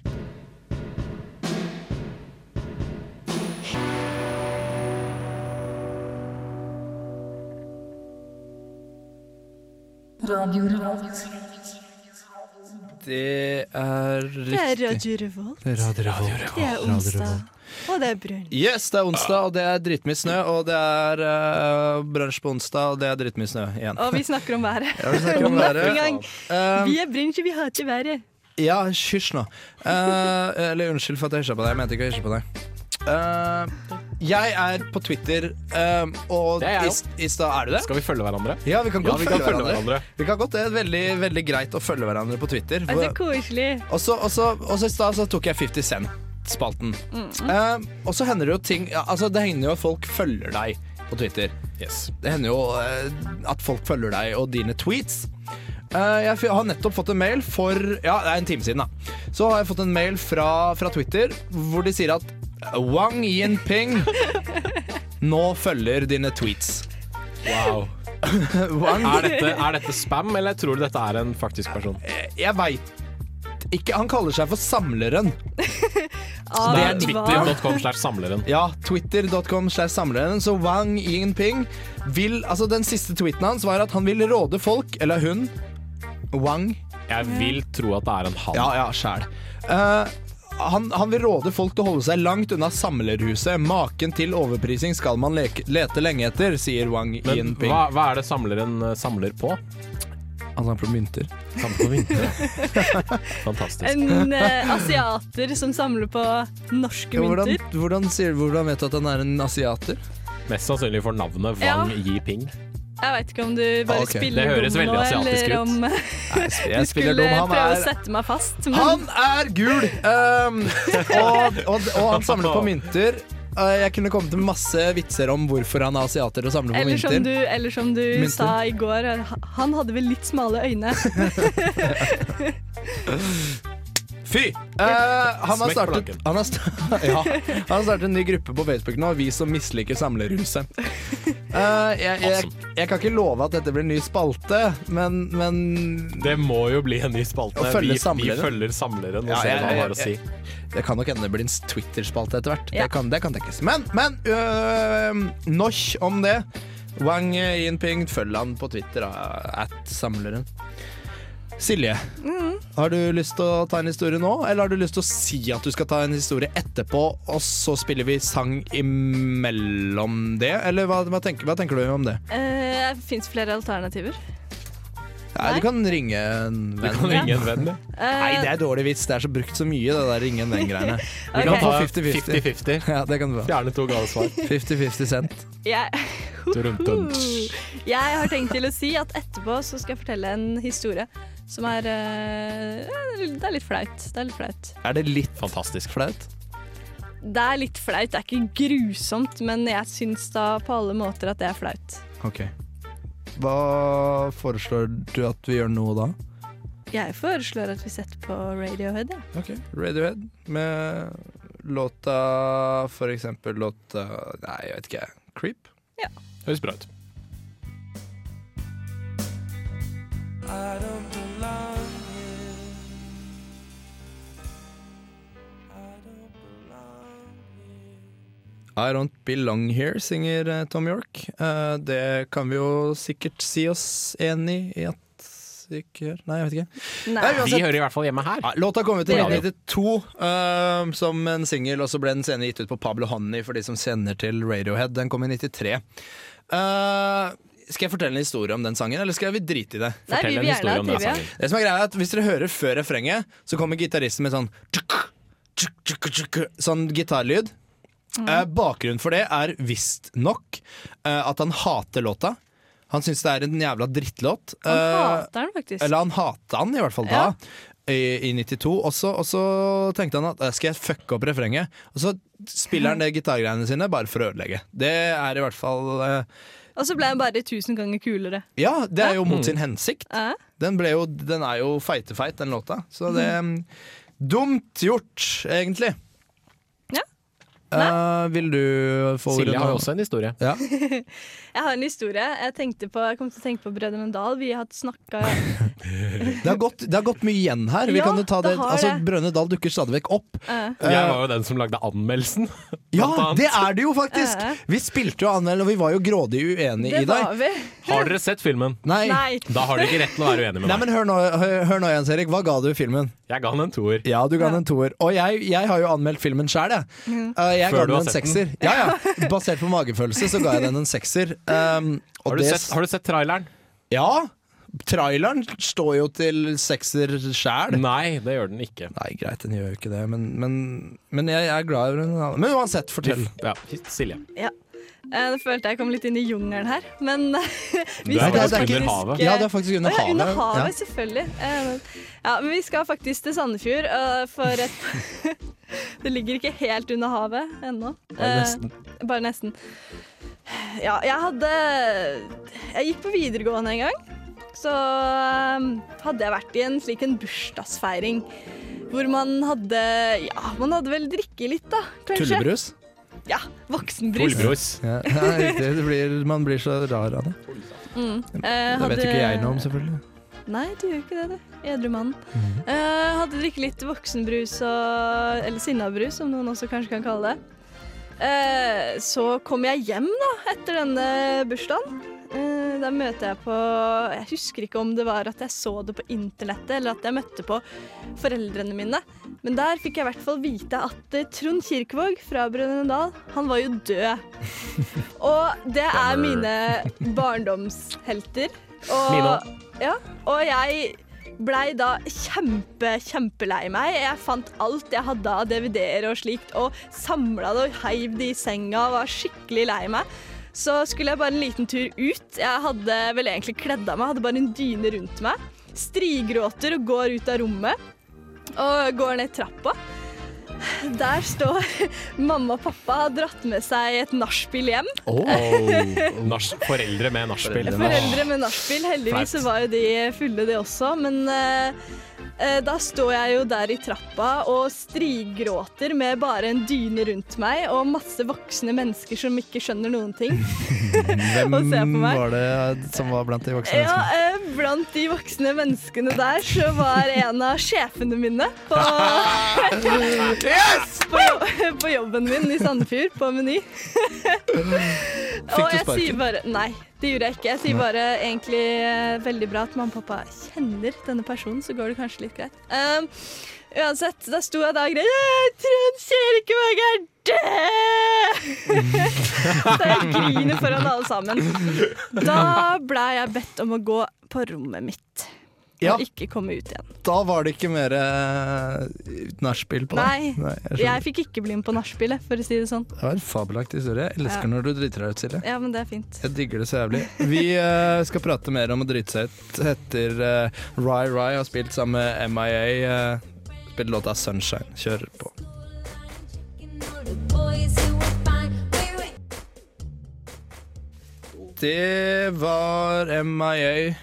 [SPEAKER 1] Det er
[SPEAKER 6] Det er
[SPEAKER 1] riktig.
[SPEAKER 6] Radio Revolt,
[SPEAKER 1] Det er Radio Revolt.
[SPEAKER 6] det er onsdag, og det er brunn.
[SPEAKER 1] Yes, det er onsdag, og det er drittmye snø, og det er uh, bransje på onsdag, og det er drittmye snø igjen.
[SPEAKER 6] Og vi snakker om været.
[SPEAKER 1] Ja, vi snakker om været.
[SPEAKER 6] Nok en gang.
[SPEAKER 1] Um,
[SPEAKER 6] Vi er brunch, og vi hater været.
[SPEAKER 1] Ja, hysj nå. Eh, eller unnskyld for at jeg hysja på deg. Jeg mente ikke å hysje på deg. Eh, jeg er på Twitter, eh, og
[SPEAKER 3] Det er jeg
[SPEAKER 1] i, i stad Er du det?
[SPEAKER 3] Skal vi følge hverandre?
[SPEAKER 1] Ja, vi kan
[SPEAKER 3] Ja,
[SPEAKER 1] godt
[SPEAKER 3] vi kan
[SPEAKER 1] følge,
[SPEAKER 3] følge
[SPEAKER 1] hverandre.
[SPEAKER 3] hverandre.
[SPEAKER 1] Vi kan godt, Det er veldig, veldig greit å følge hverandre på Twitter.
[SPEAKER 6] Å, så koselig.
[SPEAKER 1] Og så og så- og så i stad så tok jeg 50 Cent-spalten. Eh, og så hender det jo ting ja, Altså, det hender jo at folk følger deg på Twitter.
[SPEAKER 3] Yes.
[SPEAKER 1] Det hender jo eh, at folk følger deg og dine tweets. Eh, jeg f- har nettopp fått en mail for Ja, det er en time siden, da. Så har jeg fått en mail fra, fra Twitter hvor de sier at Wang Yinping nå følger dine tweets.
[SPEAKER 3] Wow.
[SPEAKER 1] Wang,
[SPEAKER 3] Er dette, er dette spam, eller tror du dette er en faktisk person?
[SPEAKER 1] jeg veit ikke Han kaller seg for Samleren.
[SPEAKER 6] Av
[SPEAKER 3] Det er
[SPEAKER 6] hva?
[SPEAKER 3] twitter.com slash samleren.
[SPEAKER 1] Ja, twitter.com slash samleren. Så Wang Yingping vil Altså, den siste tweeten hans var at han vil råde folk, eller hun Wang
[SPEAKER 3] Jeg vil tro at det er en han.
[SPEAKER 1] Ja, ja, sjæl. Eh, han, han vil råde folk til å holde seg langt unna samlerhuset. Maken til overprising skal man leke, lete lenge etter, sier Wang
[SPEAKER 3] Men
[SPEAKER 1] Yinping.
[SPEAKER 3] hva, hva er det samleren eh, samler på?
[SPEAKER 1] Altså, han får mynter.
[SPEAKER 3] Samler på vinter. Fantastisk.
[SPEAKER 6] En eh, asiater som samler på norske
[SPEAKER 1] Hvordan,
[SPEAKER 6] mynter.
[SPEAKER 1] hvordan, sier, hvordan vet du at han er en asiater?
[SPEAKER 3] Mest sannsynlig for navnet
[SPEAKER 6] Ja.
[SPEAKER 3] Wang Yiping.
[SPEAKER 6] Jeg veit ikke om du bare
[SPEAKER 1] Ah, ok.
[SPEAKER 6] spiller
[SPEAKER 3] Det høres
[SPEAKER 6] dum
[SPEAKER 3] veldig
[SPEAKER 6] nå,
[SPEAKER 3] asiatisk
[SPEAKER 6] eller
[SPEAKER 3] ut.
[SPEAKER 6] om eh,
[SPEAKER 1] Jeg
[SPEAKER 6] du skulle
[SPEAKER 1] spiller dum. Han
[SPEAKER 6] prøve å
[SPEAKER 1] er,
[SPEAKER 6] sette meg fast. Men
[SPEAKER 1] han er gul! Um, og, og, og han samler på mynter. Eh, Jeg kunne kommet med masse vitser om hvorfor han er asiater og samler på
[SPEAKER 6] eller, sånn som du,
[SPEAKER 1] mynter.
[SPEAKER 6] eller som du
[SPEAKER 1] Mynter.
[SPEAKER 6] sa i går, eh, han hadde vel litt smale øyne.
[SPEAKER 1] Fy! Eh, han, har
[SPEAKER 3] Smekk
[SPEAKER 1] startet,
[SPEAKER 3] planken.
[SPEAKER 1] han, har sta ja, han har startet en ny gruppe på Facebook nå, Vi som misliker samleruset. Eh, jeg, jeg, jeg kan ikke love at dette blir en ny spalte, men, men
[SPEAKER 3] Det må jo bli en ny spalte.
[SPEAKER 1] Å følge
[SPEAKER 3] Vi, vi
[SPEAKER 1] samleren.
[SPEAKER 3] følger samleren og
[SPEAKER 1] Ja, jeg-
[SPEAKER 3] ser hva han har å si.
[SPEAKER 1] jeg- Det kan nok hende det blir en Twitter-spalte etter hvert.
[SPEAKER 6] Ja.
[SPEAKER 1] Det, kan, det kan tenkes. Men, men øh, Nosh om det. Wang Yinping, følg han på Twitter, da, at samleren. Silje, har du lyst til å ta en historie nå, eller har du lyst til å si at du skal ta en historie etterpå, og så spiller vi sang imellom det? Eller hva, hva, tenker, hva tenker du om det?
[SPEAKER 6] Uh, Fins flere alternativer?
[SPEAKER 1] Nei,
[SPEAKER 6] Nei.
[SPEAKER 1] du kan ringe en
[SPEAKER 3] Du
[SPEAKER 1] venn.
[SPEAKER 3] kan ringe en venn, du.
[SPEAKER 6] Eh,
[SPEAKER 1] Nei, det er dårlig vits. Det er så brukt så mye, det der ringe en venn-greiene.
[SPEAKER 6] Ok.
[SPEAKER 3] Vi kan ta
[SPEAKER 1] 50-50.
[SPEAKER 3] 50-50.
[SPEAKER 1] Ja, det kan du få.
[SPEAKER 3] Fjerne to gale svar.
[SPEAKER 1] 50-50 cent.
[SPEAKER 6] Jeg,
[SPEAKER 3] Dun-dun.
[SPEAKER 6] jeg har tenkt til å si at etterpå så skal jeg fortelle en historie som er eh, Det er litt flaut. Det er litt flaut.
[SPEAKER 1] Er det litt
[SPEAKER 3] Fantastisk.
[SPEAKER 1] flaut?
[SPEAKER 6] Det er litt flaut. Det er ikke grusomt, men jeg syns da på alle måter at det er flaut.
[SPEAKER 1] Ok. Hva foreslår du at vi gjør nå da?
[SPEAKER 6] Jeg foreslår at vi setter på Radiohead, jeg.
[SPEAKER 1] Ok, Radiohead med låta For eksempel låta Nei, jeg vet ikke. Creep?
[SPEAKER 3] Høres bra ut.
[SPEAKER 1] I Don't Belong Here, synger eh, Tom York. Eh, Det kan vi jo sikkert si oss enig i at Sikkert Nei, jeg vet ikke.
[SPEAKER 6] Nei.
[SPEAKER 1] Nei,
[SPEAKER 3] Vi hører i hvert fall hjemme her.
[SPEAKER 1] Ja, Låta kom ut i
[SPEAKER 6] Det gjør
[SPEAKER 1] 1992 ehm, som en singel, og så ble den senere gitt ut på Pablo Honey for de som kjenner til Radiohead. Den kom i 93. Eh, skal jeg fortelle en historie om den sangen, eller skal vi drite i det?
[SPEAKER 6] Nei,
[SPEAKER 3] Fortell
[SPEAKER 6] vi
[SPEAKER 3] en
[SPEAKER 6] vil gjerne
[SPEAKER 3] historie
[SPEAKER 6] ha
[SPEAKER 3] om den
[SPEAKER 6] trivia.
[SPEAKER 3] sangen.
[SPEAKER 1] Det som er greia er at Hvis dere hører før refrenget, så kommer gitaristen med sånn tjuk, tjuk, tjuk, tjuk, Sånn gitarlyd.
[SPEAKER 6] Mm.
[SPEAKER 1] Eh, bakgrunnen for det er visstnok uh, at han hater låta. Han syns det er en jævla drittlåt.
[SPEAKER 6] Han
[SPEAKER 1] Eh,
[SPEAKER 6] hater den faktisk.
[SPEAKER 1] eller han hata han i hvert fall da, i, i 92. Og så, og så tenkte han at "Eh, skal jeg fucke opp refrenget? Og så spiller han det gitargreiene sine bare for å ødelegge. Det er i hvert fall eh,
[SPEAKER 6] Og så ble han bare tusen ganger kulere.
[SPEAKER 1] Ja, det er jo mot sin hensikt.
[SPEAKER 6] Eh?
[SPEAKER 1] Den, ble jo, den er jo feitefeit, den låta. Så det
[SPEAKER 6] Mhm.
[SPEAKER 1] mm, Dumt gjort, egentlig.
[SPEAKER 6] Ja.
[SPEAKER 1] Eh, vil du få ordet
[SPEAKER 3] Silje har
[SPEAKER 1] nå?
[SPEAKER 3] jo også en historie.
[SPEAKER 1] Ja.
[SPEAKER 6] Jeg har en historie. Jeg, tenkte på, jeg kom til å tenke på Brødrene Dal. Vi har snakka
[SPEAKER 1] Det, har gått, det har gått mye igjen her. Vi
[SPEAKER 6] Ja,
[SPEAKER 1] kan jo ta det.
[SPEAKER 6] det har
[SPEAKER 1] Altså,
[SPEAKER 6] det.
[SPEAKER 1] Brønne Dal dukker stadig vekk opp.
[SPEAKER 3] Jeg var jo den som lagde anmeldelsen.
[SPEAKER 1] Ja,
[SPEAKER 3] Blant annet.
[SPEAKER 1] det er det jo faktisk!
[SPEAKER 6] Ja.
[SPEAKER 1] Vi spilte jo anmelden, og vi var jo grådig uenige
[SPEAKER 6] Det
[SPEAKER 1] i deg.
[SPEAKER 6] var vi.
[SPEAKER 3] Har dere sett filmen?
[SPEAKER 1] Nei. Nei.
[SPEAKER 6] Nei.
[SPEAKER 3] Da har dere ikke rett til å være uenig med meg.
[SPEAKER 1] men hør nå, hør, hør nå Jens Erik. Hva ga du filmen?
[SPEAKER 3] Jeg ga den en toer.
[SPEAKER 1] Ja, du ga den en toer. Og jeg, jeg har jo anmeldt filmen sjæl, jeg.
[SPEAKER 6] Mhm.
[SPEAKER 1] Uh, jeg
[SPEAKER 3] Før
[SPEAKER 1] ga
[SPEAKER 3] du
[SPEAKER 1] den
[SPEAKER 3] har
[SPEAKER 1] en
[SPEAKER 3] sett den.
[SPEAKER 1] sekser. Ja, ja. Basert på magefølelse så ga jeg den en sekser. Um, og
[SPEAKER 3] Har du,
[SPEAKER 1] det-
[SPEAKER 3] sett, har du sett traileren?
[SPEAKER 1] Ja! Traileren står jo til sekser sjæl.
[SPEAKER 3] Nei, det gjør den ikke.
[SPEAKER 1] Nei, greit, den gjør jo ikke det, men, men, men jeg, jeg er glad i den. Men uansett, fortell.
[SPEAKER 3] Ja, Silje.
[SPEAKER 6] Eh, Det følte jeg kom litt inn i jungelen her. Men eh,
[SPEAKER 3] Du
[SPEAKER 6] vi
[SPEAKER 3] er
[SPEAKER 1] Nei, det er-
[SPEAKER 3] faktisk
[SPEAKER 1] det er
[SPEAKER 3] under
[SPEAKER 1] ikke-
[SPEAKER 3] havet.
[SPEAKER 1] Ja, det er faktisk under
[SPEAKER 6] Å ja,
[SPEAKER 1] havet.
[SPEAKER 6] under havet,
[SPEAKER 1] Ja.
[SPEAKER 6] selvfølgelig. Eh, Ja, men vi skal faktisk til Sandefjord, eh, for et Det ligger ikke helt under havet ennå. Eh,
[SPEAKER 3] nesten.
[SPEAKER 6] Bare nesten. Ja, jeg hadde Jeg gikk på videregående en gang. Så eh, hadde jeg vært i en slik en bursdagsfeiring. Hvor man hadde Ja, man hadde vel drikket litt, da. Kanskje.
[SPEAKER 1] Tullebrus?
[SPEAKER 6] Ja, voksenbrus.
[SPEAKER 3] Tullbrus.
[SPEAKER 1] Ja, nei, riktig. Det blir, man blir så rar av det.
[SPEAKER 6] Mm. Eh,
[SPEAKER 1] Det vet
[SPEAKER 6] hadde-
[SPEAKER 1] jo ikke jeg noe om, selvfølgelig.
[SPEAKER 6] Nei, du gjør ikke det, du. Edru mann. Eh, hadde drukket litt voksenbrus og Eller sinnabrus, som noen også kanskje kan kalle det. Eh, så kom jeg hjem, da, etter denne bursdagen. Eh, da møter jeg på Jeg husker ikke om det var at jeg så det på internettet, eller at jeg møtte på foreldrene mine, men der fikk jeg i hvert fall vite at eh, Trond Kirkevåg fra Brønnøy Dal, han var jo død. Og det er mine barndomshelter. Og
[SPEAKER 3] Mine også.
[SPEAKER 6] ja, og jeg blei da kjempe, kjempelei meg. Jeg fant alt jeg hadde av DVD-er og slikt, og samla det og heiv det i senga og var skikkelig lei meg. Så skulle jeg bare en liten tur ut. Jeg hadde vel egentlig kledd av meg, hadde bare en dyne rundt meg. Strigråter og går ut av rommet og går ned trappa. Der står mamma og pappa har dratt med seg et nachspiel hjem.
[SPEAKER 3] Oh, nach, foreldre med nachspiel.
[SPEAKER 1] Foreldre
[SPEAKER 6] Foreldre med nachspiel.
[SPEAKER 3] Flaut.
[SPEAKER 6] Heldigvis så var jo de fulle, de også. Men eh, Eh, Da står jeg jo der i trappa og strigråter med bare en dyne rundt meg og masse voksne mennesker som ikke skjønner noen ting. Og se på
[SPEAKER 9] Hvem
[SPEAKER 6] meg.
[SPEAKER 9] var det som var blant de
[SPEAKER 1] Sånn
[SPEAKER 9] voksne
[SPEAKER 6] Ja,
[SPEAKER 9] menneskene?
[SPEAKER 6] eh, Blant de voksne menneskene der så var en av sjefene mine på, på, på jobben min i Sandefjord, på Meny. Og jeg sier bare Nei, det gjorde jeg ikke. Jeg sier bare egentlig eh, veldig bra at mamma og pappa kjenner denne personen, så går det kanskje litt greit. Um, uansett, da sto jeg da og grein. «Eh, Trond Kirkevåg er død! så jeg griner foran alle sammen. Da ble jeg bedt om å gå på rommet mitt.
[SPEAKER 1] Ja.
[SPEAKER 6] Og ikke komme ut igjen.
[SPEAKER 1] Da var det ikke mer eh, nachspiel på
[SPEAKER 6] Nei,
[SPEAKER 1] deg? jeg skjønner.
[SPEAKER 6] Jeg fikk ikke bli med på nachspielet, for å si det sånn.
[SPEAKER 1] Det var en fabelaktig historie. Jeg elsker
[SPEAKER 6] Ja.
[SPEAKER 1] når du driter deg ut, Silje.
[SPEAKER 6] Ja, men det er fint.
[SPEAKER 1] Jeg digger det så jævlig. Vi eh, skal prate mer om å drite seg ut etter eh, Ry Ry har spilt sammen med MIA. eh, spilt låta 'Sunshine'. Kjør på. Det var MIA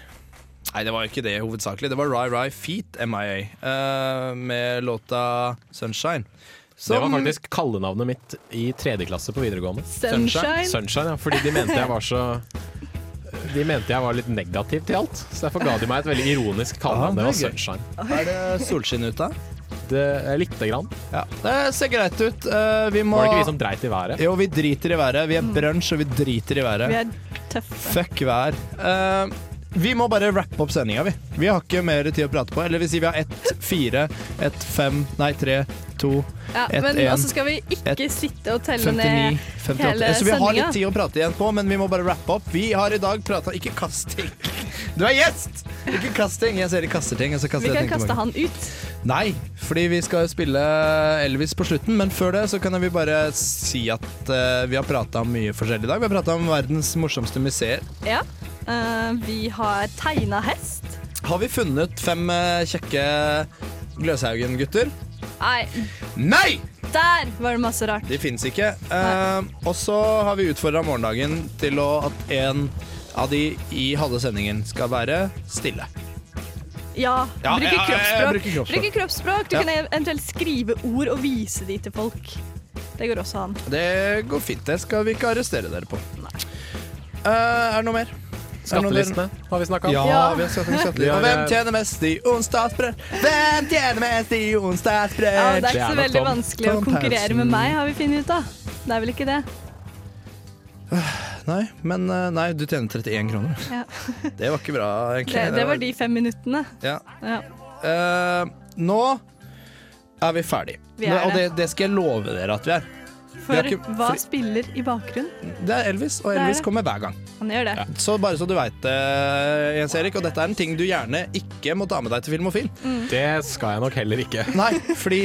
[SPEAKER 1] Nei, det var ikke det hovedsakelig. Det var Ry Ry Feet MIA eh, med låta 'Sunshine'.
[SPEAKER 3] Det
[SPEAKER 1] Som-
[SPEAKER 3] var faktisk kallenavnet mitt i tredje klasse på videregående.
[SPEAKER 6] Sunshine.
[SPEAKER 3] Sunshine, ja, fordi de mente jeg var så De mente jeg var litt negativ til alt, så derfor ga de meg et veldig ironisk kallenavn.
[SPEAKER 1] Ah,
[SPEAKER 3] Det var
[SPEAKER 1] det er gøy.
[SPEAKER 3] Sunshine.
[SPEAKER 1] Er det solskinn ute?
[SPEAKER 3] Det, eh, lite grann.
[SPEAKER 1] Ja. Det ser greit ut. Eh, vi må
[SPEAKER 3] Var det ikke vi som dreit i været?
[SPEAKER 1] Jo, vi driter i været. Vi er brunsj, og vi driter i været.
[SPEAKER 6] Mm. Vi er tøffe.
[SPEAKER 1] Fuck vær. Eh, vi må bare rappe opp sendinga, vi. Vi har ikke mer tid å prate på. Eller vi sier vi har ett, fire, ett, fem, nei, tre, to,
[SPEAKER 6] Ja,
[SPEAKER 1] Et,
[SPEAKER 6] men
[SPEAKER 1] en,
[SPEAKER 6] også skal vi ikke
[SPEAKER 1] et,
[SPEAKER 6] sitte og telle ned
[SPEAKER 1] 59, 58.
[SPEAKER 6] hele
[SPEAKER 1] Så vi har
[SPEAKER 6] sendinga.
[SPEAKER 1] litt tid å prate igjen på, men vi må bare rappe opp. Vi har i dag prata Ikke kast ting! Du er gjest! Ikke kast ting. Jeg ser de kaster ting. og så kaster
[SPEAKER 6] Vi
[SPEAKER 1] Altså, jeg ting
[SPEAKER 6] kan
[SPEAKER 1] tilbake.
[SPEAKER 6] kaste han ut.
[SPEAKER 1] Nei, fordi vi skal jo spille Elvis på slutten, men før det så kan vi bare si at eh, vi har prata om mye forskjellig i dag. Vi har prata om verdens morsomste museer.
[SPEAKER 6] Ja. Eh, vi har tegna hest.
[SPEAKER 1] Har vi funnet fem eh, kjekke Gløshaugen-gutter?
[SPEAKER 6] Nei,
[SPEAKER 1] Nei!
[SPEAKER 6] der var det masse rart.
[SPEAKER 1] De fins ikke. Eh, og så har vi utfordra morgendagen til å, at en av de i halve sendingen skal være stille.
[SPEAKER 6] Ja,
[SPEAKER 1] Ja,
[SPEAKER 6] bruke
[SPEAKER 1] ja, ja, ja,
[SPEAKER 6] kroppsspråk.
[SPEAKER 1] bruke kroppsspråk.
[SPEAKER 6] Bruke kroppsspråk. Du
[SPEAKER 1] Ja.
[SPEAKER 6] kan e- eventuelt skrive ord og vise de til folk. Det går også an.
[SPEAKER 1] Det går fint. Det skal vi ikke arrestere dere på. Eh, er det noe mer? Er det noe dere-
[SPEAKER 3] Skattelistene har vi snakka om.
[SPEAKER 1] Ja,
[SPEAKER 6] Ja.
[SPEAKER 1] vi har skatt- vi har skatt-
[SPEAKER 3] Vi har-
[SPEAKER 1] Og hvem tjener mest i onsdagsbrød? Hvem tjener mest i
[SPEAKER 6] Ja,
[SPEAKER 1] onsdagsbrød?
[SPEAKER 6] det er ikke så
[SPEAKER 3] Jævla
[SPEAKER 6] veldig
[SPEAKER 3] Tom.
[SPEAKER 6] vanskelig å
[SPEAKER 1] Tom
[SPEAKER 6] konkurrere
[SPEAKER 1] Paulsen.
[SPEAKER 6] med meg, har vi funnet ut av. Det er vel ikke det.
[SPEAKER 1] Nei, men eh, nei, du tjener 31 kroner.
[SPEAKER 6] Ja.
[SPEAKER 1] Det var ikke bra, egentlig.
[SPEAKER 6] Det, det var de fem minuttene.
[SPEAKER 1] Ja.
[SPEAKER 6] Ja.
[SPEAKER 1] Eh, nå er vi ferdig.
[SPEAKER 6] Vi er
[SPEAKER 1] og det,
[SPEAKER 6] det.
[SPEAKER 1] det skal jeg love dere at vi er.
[SPEAKER 6] For
[SPEAKER 1] Vi har ikke-
[SPEAKER 6] hva
[SPEAKER 1] for-
[SPEAKER 6] spiller i bakgrunnen?
[SPEAKER 1] Det er Elvis, og
[SPEAKER 6] Det er
[SPEAKER 1] Elvis
[SPEAKER 6] det.
[SPEAKER 1] kommer hver gang.
[SPEAKER 6] Han gjør det.
[SPEAKER 1] Så bare så du veit det, Jens Erik, og dette er en ting du gjerne ikke må ta med deg til Filmofil.
[SPEAKER 3] Det skal jeg nok heller ikke.
[SPEAKER 1] Nei, fordi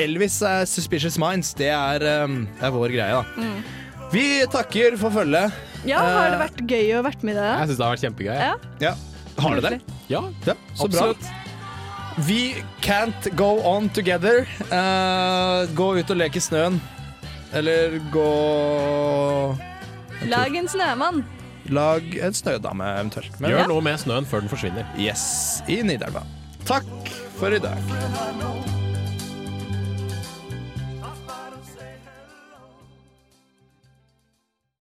[SPEAKER 1] Elvis er Suspicious Minds. Det er, eh, det er vår greie, da.
[SPEAKER 6] Mm.
[SPEAKER 1] Vi takker for følget.
[SPEAKER 6] Ja, har
[SPEAKER 1] Eh,
[SPEAKER 6] det vært gøy å vært med i det?
[SPEAKER 3] Jeg syns det har vært kjempegøy.
[SPEAKER 6] Ja.
[SPEAKER 1] Ja. Har du det?
[SPEAKER 3] Ja,
[SPEAKER 1] Ja, så bra.
[SPEAKER 3] absolutt.
[SPEAKER 1] Vi can't go on together. Eh, gå ut og leke i snøen. Eller gå
[SPEAKER 6] Lag en snømann.
[SPEAKER 1] Lag en snødame, eventuelt. Men,
[SPEAKER 3] Gjør noe med snøen før den forsvinner.
[SPEAKER 1] Yes, i Nidelva. Takk for i dag.
[SPEAKER 10] Forever know